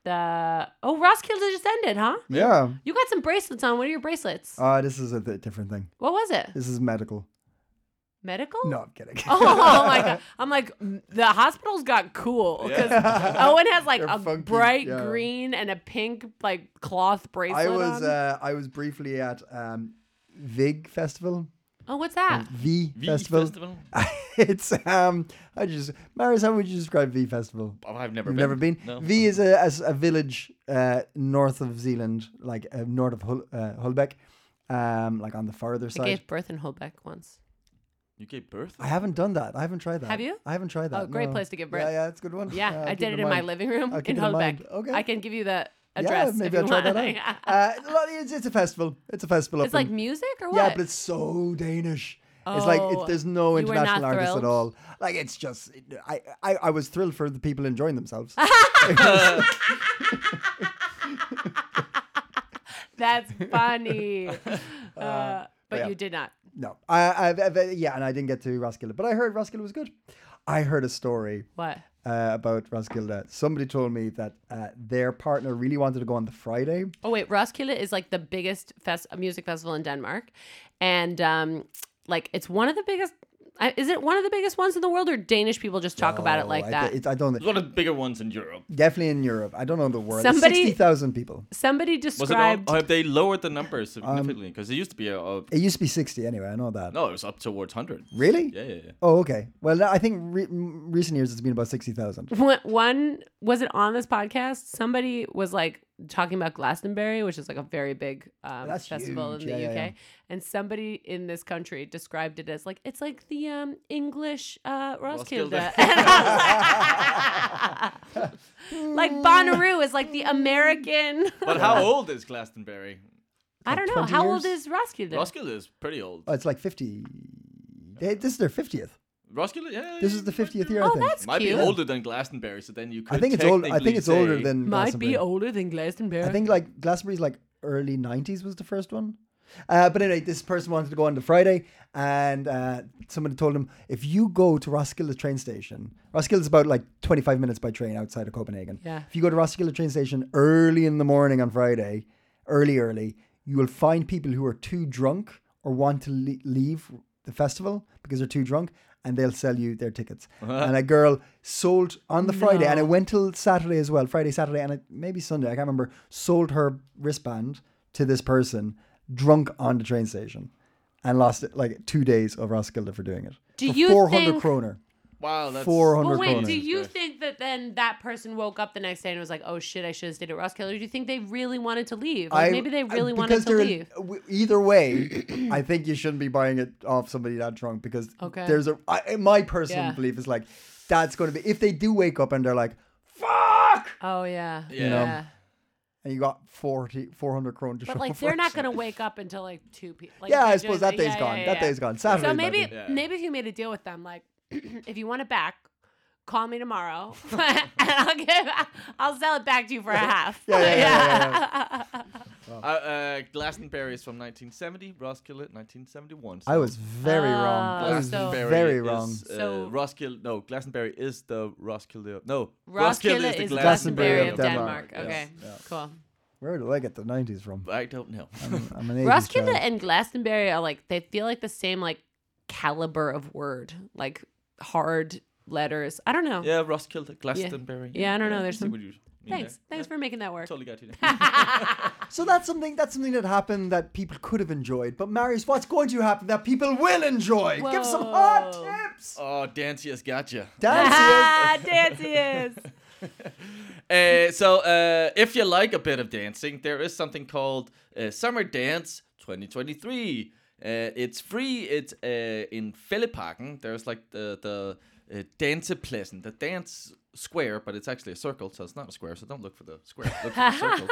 Speaker 3: the oh roskilde just ended huh
Speaker 1: Yeah.
Speaker 3: you got some bracelets on what are your bracelets
Speaker 1: Uh, this is a bit different thing.
Speaker 3: what was it
Speaker 1: This is medical.
Speaker 3: medical
Speaker 1: No, I'm kidding.
Speaker 3: Oh my god! I'm like "Mm, the hospital's got cool because Owen has like
Speaker 1: They're
Speaker 3: a
Speaker 1: funky,
Speaker 3: bright
Speaker 1: yeah.
Speaker 3: green and a pink like cloth bracelet.
Speaker 1: I was
Speaker 3: on.
Speaker 1: uh, I was briefly at um, Vig Festival.
Speaker 3: oh, what's that?
Speaker 1: V,
Speaker 2: V
Speaker 1: Festival. it's um. I just Marius, how would you describe V Festival?
Speaker 2: Oh, I've never
Speaker 1: You've
Speaker 2: been.
Speaker 1: never been.
Speaker 2: No.
Speaker 1: V is a, as a village uh, north of Zealand, like uh, north of Hul- uh, Hulbeck, um, like on the farther
Speaker 3: I
Speaker 1: side.
Speaker 3: gave birth in Holbeck once.
Speaker 2: You gave birth.
Speaker 1: I haven't done that. I haven't tried that.
Speaker 3: Have you?
Speaker 1: I haven't tried that.
Speaker 3: Oh, great
Speaker 1: no.
Speaker 3: place to give birth.
Speaker 1: Yeah, yeah, it's a good one.
Speaker 3: Yeah,
Speaker 1: I'll
Speaker 3: I
Speaker 1: Uh, keep
Speaker 3: did it
Speaker 1: in
Speaker 3: in my
Speaker 1: mind.
Speaker 3: living room
Speaker 1: I'll
Speaker 3: in
Speaker 1: keep it in mind.
Speaker 3: Holbeck.
Speaker 1: Okay.
Speaker 3: I can give you the address.
Speaker 1: Yeah, maybe
Speaker 3: if
Speaker 1: I'll try
Speaker 3: you want.
Speaker 1: that out. uh, well, it's, it's a festival. It's a festival.
Speaker 3: it's
Speaker 1: up
Speaker 3: like
Speaker 1: in,
Speaker 3: music or what?
Speaker 1: yeah, but it's so Danish. It's like
Speaker 3: Oh,
Speaker 1: it, there's no
Speaker 3: you were not
Speaker 1: international artists at
Speaker 3: thrilled?
Speaker 1: all. Like it's just, I, I, I was thrilled for the people enjoying themselves.
Speaker 3: That's funny. uh, but
Speaker 1: yeah.
Speaker 3: you did not.
Speaker 1: no, I, I, I, yeah, and I didn't get to Roskilde, but I heard Roskilde was good. I heard a story
Speaker 3: What?
Speaker 1: uh, about Roskilde. Somebody told me that uh, their partner really wanted to go on the Friday.
Speaker 3: Oh wait, Roskilde is like the biggest fest- music festival in Denmark, and um, like it's one of the biggest. I, is it one of the biggest ones in the world, or Danish people just talk about it
Speaker 1: Oh, I,
Speaker 3: like
Speaker 1: thi-
Speaker 3: that?
Speaker 1: it's- I don't.
Speaker 2: It's one of the bigger ones in Europe.
Speaker 1: Definitely in Europe. I don't know the world.
Speaker 3: Somebody-
Speaker 1: Sixty thousand people.
Speaker 3: Somebody
Speaker 2: Was it all,
Speaker 3: described.
Speaker 2: or have they lowered the numbers
Speaker 1: Um,
Speaker 2: significantly? Because it used to be a, a
Speaker 1: It used to be sixty anyway. I know that.
Speaker 2: no, it was up towards hundred.
Speaker 1: Really?
Speaker 2: Yeah, yeah, yeah.
Speaker 1: Oh, okay. Well, I think re- m- recent years it's been about sixty thousand.
Speaker 3: One- one was it on this podcast? Somebody was like, talking about Glastonbury, which is like a very big um,
Speaker 1: That's
Speaker 3: festival
Speaker 1: huge.
Speaker 3: in the
Speaker 1: Yeah, yeah,
Speaker 3: UK.
Speaker 1: yeah.
Speaker 3: And somebody in this country described it as like it's like the um, English uh, Roskilde.
Speaker 2: Roskilde.
Speaker 3: And I was like, like Bonnaroo is like the American.
Speaker 2: But how old is Glastonbury?
Speaker 3: I don't know
Speaker 1: 20
Speaker 3: how old
Speaker 1: years?
Speaker 3: is Roskilde.
Speaker 2: Roskilde is pretty old.
Speaker 1: Oh, it's like 50. They, this is their 50th.
Speaker 2: Roskilde, yeah.
Speaker 1: This is the 50th year, I
Speaker 3: Oh,
Speaker 1: think.
Speaker 3: that's
Speaker 2: Might
Speaker 3: cute.
Speaker 2: be older than Glastonbury, so then you could.
Speaker 1: I think it's old. I
Speaker 2: technically
Speaker 1: think it's older
Speaker 2: say-
Speaker 1: than
Speaker 3: Might be
Speaker 1: Glastonbury.
Speaker 3: older than Glastonbury.
Speaker 1: I think like Glastonbury's like early '90s was the first one. Uh, but anyway, this person wanted to go on the Friday, and uh, somebody told him if you go to Roskilde train station, Roskilde is about like 25 minutes by train outside of Copenhagen.
Speaker 3: Yeah.
Speaker 1: If you go to Roskilde train station early in the morning on Friday, early early, you will find people who are too drunk or want to le- leave the festival because they're too drunk, and they'll sell you their tickets.
Speaker 3: Uh-huh.
Speaker 1: And a girl sold on the Friday, and it went till Saturday as well, Friday, Saturday, and it, maybe Sunday, I can't remember, sold her wristband to this person drunk on the train station and lost it, like two days of Roskilde for doing it.
Speaker 3: Do
Speaker 1: for
Speaker 3: you
Speaker 1: 400
Speaker 3: think-
Speaker 1: kroner.
Speaker 2: Wow, that's
Speaker 1: 400
Speaker 3: But wait,
Speaker 1: kroner.
Speaker 3: do you
Speaker 2: Yeah.
Speaker 3: think that then that person woke up the next day and was like, "Oh shit, I should have stayed at Roskilde"? Or do you think they really wanted to leave? Like,
Speaker 1: I-
Speaker 3: maybe they
Speaker 1: I-
Speaker 3: really wanted
Speaker 1: because
Speaker 3: to
Speaker 1: there-
Speaker 3: leave.
Speaker 1: w- Either way, I think you shouldn't be buying it off somebody that drunk because
Speaker 3: Okay.
Speaker 1: there's a I, my personal
Speaker 3: Yeah.
Speaker 1: belief is like that's going to be if they do wake up and they're like fuck
Speaker 3: Oh yeah, yeah.
Speaker 2: know.
Speaker 1: and you got 40 400 kroner to
Speaker 3: But
Speaker 1: show
Speaker 3: like,
Speaker 1: for
Speaker 3: they're
Speaker 1: it.
Speaker 3: not gonna wake up until like two p. Like,
Speaker 1: yeah,
Speaker 3: they're
Speaker 1: I
Speaker 3: doing
Speaker 1: suppose that
Speaker 3: the-
Speaker 1: day's
Speaker 3: yeah,
Speaker 1: gone.
Speaker 3: yeah,
Speaker 1: that
Speaker 3: yeah.
Speaker 1: day's gone. Saturday.
Speaker 3: So maybe
Speaker 2: Yeah.
Speaker 3: maybe if you made a deal with them, like if you want it back, call me tomorrow, and I'll give I'll sell it back to you for a half.
Speaker 1: Yeah, yeah,
Speaker 2: Uh, uh, Glastonbury is from 1970. Roskilde 1971.
Speaker 1: I was very wrong. I
Speaker 3: Oh,
Speaker 1: was
Speaker 3: so-
Speaker 1: very wrong.
Speaker 2: Is, uh,
Speaker 3: So-
Speaker 2: Roskilde, no, Glastonbury is the Roskilde. of- No,
Speaker 3: Roskilde is the Glastonbury of Denmark.
Speaker 1: Denmark,
Speaker 3: Okay, cool.
Speaker 1: Where did I get the nineties from?
Speaker 2: I don't know.
Speaker 1: I'm an 80s
Speaker 3: Roskilde
Speaker 1: child.
Speaker 3: and Glastonbury are like they feel like the same like caliber of word, like hard letters. I don't know.
Speaker 2: yeah, Roskilde, Glastonbury.
Speaker 3: Yeah, I don't know, there's
Speaker 2: see
Speaker 3: some-
Speaker 2: what you mean
Speaker 3: Thanks,
Speaker 2: there.
Speaker 3: thanks for making that work.
Speaker 2: Totally got you.
Speaker 1: So that's something that's something that happened that people could have enjoyed. But Marius, what's going to happen that people will enjoy? Give some hot
Speaker 3: Whoa.
Speaker 1: tips.
Speaker 2: oh, Dancy has gotcha.
Speaker 1: Dance
Speaker 3: ah, dancey is.
Speaker 2: Uh, so uh, if you like a bit of dancing, there is something called uh, Summer Dance 2023. Uh, it's free. It's uh, in Fælleparken. There's like the the uh, dansepladsen, the dance square, but it's actually a circle, so it's not a square. So don't look for the square. Look for the circle.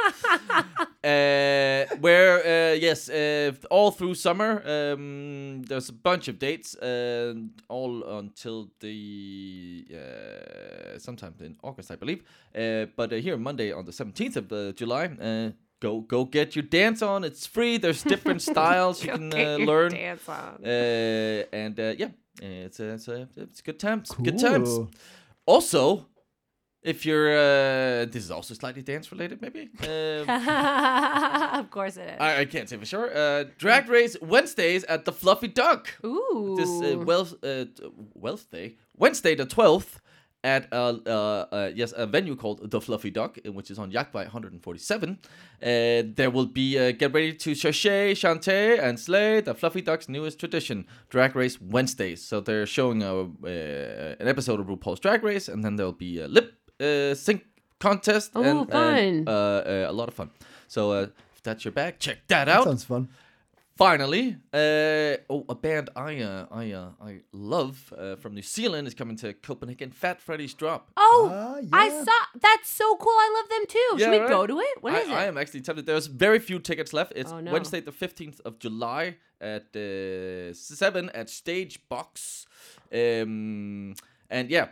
Speaker 2: uh, where uh, yes, uh, all through summer um, there's a bunch of dates, uh, all until the uh, sometime in August, I believe. Uh, but uh, here Monday on the 17th of uh, July, uh, go go get your dance on. It's free. There's different styles you can uh, learn,
Speaker 3: Dance on.
Speaker 2: uh, and uh, yeah, it's uh, it's, uh, it's good times. Good
Speaker 1: Cool.
Speaker 2: times. Also. If you're, uh, this is also slightly dance related, maybe. Uh,
Speaker 3: of course it is.
Speaker 2: I, I can't say for sure. Uh, drag race Wednesdays at the Fluffy Duck.
Speaker 3: Ooh.
Speaker 2: This uh, Welsh, uh, t- Wednesday, Wednesday the twelfth, at a uh, uh, yes a venue called the Fluffy Duck, uh, which is on Yakbai 147. Uh, there will be uh, get ready to chercher, chanter, and slay the Fluffy Duck's newest tradition, Drag Race Wednesdays. So they're showing a, uh, an episode of RuPaul's Drag Race, and then there'll be a lip uh, sync contest
Speaker 3: Oh,
Speaker 2: and, and, uh,
Speaker 3: fun.
Speaker 2: uh, a lot of fun. So. Uh, if that's your bag. Check that out
Speaker 1: sounds fun.
Speaker 2: finally, uh, oh, a band I uh, I uh, I love uh, from New Zealand is coming to Copenhagen. Fat Freddy's Drop.
Speaker 3: oh,
Speaker 1: Ah,
Speaker 3: I
Speaker 1: yeah.
Speaker 3: saw. That's so cool. I love them too. Should
Speaker 2: Yeah,
Speaker 3: we
Speaker 2: right?
Speaker 3: go to it? What
Speaker 2: I,
Speaker 3: is it?
Speaker 2: I am actually tempted. There's very few tickets left. It's
Speaker 3: Oh, no.
Speaker 2: Wednesday, the fifteenth of July at uh, seven at Stage Box, um, and yeah.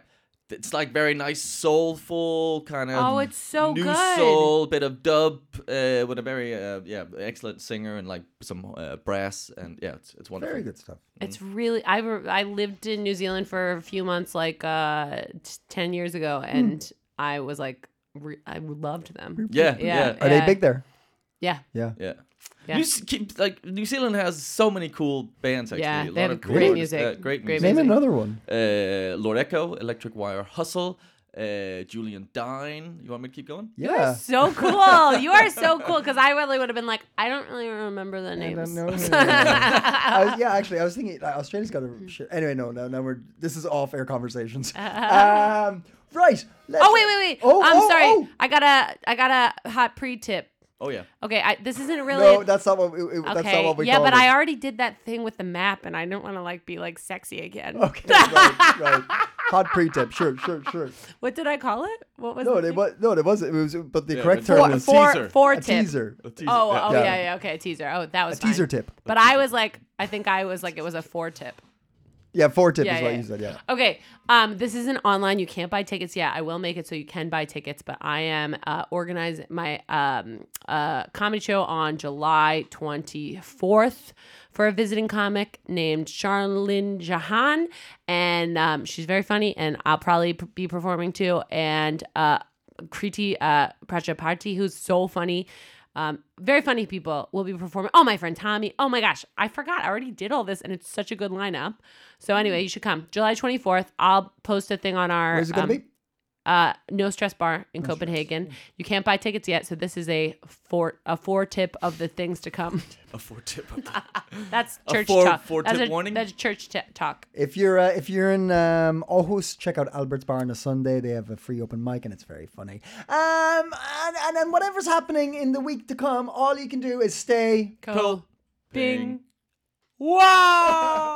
Speaker 2: It's like very nice, soulful kind of.
Speaker 3: Oh, it's so
Speaker 2: new
Speaker 3: good.
Speaker 2: soul, bit of dub, uh, with a very uh, yeah excellent singer and like some uh, brass and yeah, it's, it's wonderful.
Speaker 1: Very good stuff.
Speaker 3: It's really I re- I lived in New Zealand for a few months like uh t- 10 years ago
Speaker 2: Hmm.
Speaker 3: and I was like re- I loved them.
Speaker 2: Yeah,
Speaker 3: Yeah.
Speaker 2: yeah,
Speaker 1: Are they big there?
Speaker 3: Yeah.
Speaker 1: Yeah.
Speaker 2: Yeah.
Speaker 3: Yeah.
Speaker 2: New, Ze- keep- like New Zealand has so many cool bands. Actually,
Speaker 3: Yeah,
Speaker 2: a
Speaker 3: they
Speaker 2: lot
Speaker 3: have
Speaker 2: of
Speaker 3: great
Speaker 2: cool
Speaker 3: music,
Speaker 2: artists, uh, great
Speaker 3: great
Speaker 2: music.
Speaker 1: Name
Speaker 3: Amazing.
Speaker 1: another one.
Speaker 2: Uh, Loreco, Electric Wire Hustle, uh, Julian Dine. You want me to keep going?
Speaker 3: You are
Speaker 1: Yeah.
Speaker 3: so cool. You are so cool cuz I really would have been like I don't really remember the
Speaker 1: I
Speaker 3: names.
Speaker 1: don't know. I was- yeah, actually, I was
Speaker 3: Hmm.
Speaker 1: thinking like, Australia's got a shit. Anyway, no, no, no. We're this is off air conversations. um, Right. Let's
Speaker 3: Oh wait, wait, wait.
Speaker 1: Oh,
Speaker 3: I'm
Speaker 1: oh,
Speaker 3: sorry.
Speaker 1: oh.
Speaker 3: I got a I got a hot pre tip.
Speaker 2: Oh yeah.
Speaker 3: Okay, I, this isn't really.
Speaker 1: No,
Speaker 3: a-
Speaker 1: that's not what. We, it-
Speaker 3: okay.
Speaker 1: That's not what we.
Speaker 3: yeah,
Speaker 1: called
Speaker 3: but
Speaker 1: it.
Speaker 3: I already did that thing with the map, and I didn't want to like be like sexy again.
Speaker 1: Okay. Right. right. Hot pre-tip. Sure. Sure. Sure.
Speaker 3: What did I call it? What was
Speaker 1: No,
Speaker 3: the
Speaker 1: they
Speaker 3: thing?
Speaker 1: was no, it wasn't. It was, but the
Speaker 2: Yeah,
Speaker 1: correct
Speaker 2: but-
Speaker 1: term
Speaker 2: Four-
Speaker 3: Four,
Speaker 1: was
Speaker 2: four-
Speaker 3: four,
Speaker 1: a
Speaker 2: teaser.
Speaker 3: four tip.
Speaker 1: teaser.
Speaker 2: A teaser.
Speaker 3: Oh,
Speaker 2: yeah.
Speaker 3: oh
Speaker 1: Yeah.
Speaker 3: yeah. yeah, Okay, a teaser. Oh, that was
Speaker 1: A
Speaker 3: fine.
Speaker 1: teaser tip.
Speaker 3: But I was like, I think I was like, it was a four tip.
Speaker 1: Yeah, four tip
Speaker 3: Yeah,
Speaker 1: is what
Speaker 3: yeah.
Speaker 1: you said. Yeah.
Speaker 3: Okay. Um, this isn't online. You can't buy tickets. Yeah, I will make it so you can buy tickets. But I am uh, organizing my um, uh, comedy show on July 24th for a visiting comic named Charlene Jahan, and um, she's very funny. And I'll probably p- be performing too. And uh, Kriti uh, Prajaparty, who's so funny. Um, very funny people will be performing. Oh, my friend Tommy. Oh my gosh, I forgot. I already did all this, and it's such a good lineup. So anyway, you should come July twenty fourth. I'll post a thing on our
Speaker 1: Where's it gonna
Speaker 3: um,
Speaker 1: be?
Speaker 3: Uh, no stress bar in Copenhagen. You can't buy tickets yet, so this is a four a four tip of the things to come.
Speaker 2: A four tip.
Speaker 3: That's
Speaker 2: A
Speaker 3: church
Speaker 2: four-
Speaker 3: talk.
Speaker 2: four
Speaker 3: that's
Speaker 2: tip
Speaker 3: a,
Speaker 2: warning?
Speaker 3: That's church t- talk.
Speaker 1: If you're uh, if you're in um, Aarhus, check out Albert's Bar on a Sunday. They have a free open mic and it's very funny. Um, and and then whatever's happening in the week to come, all you can do is stay
Speaker 3: Cool. Bing.
Speaker 2: Wow.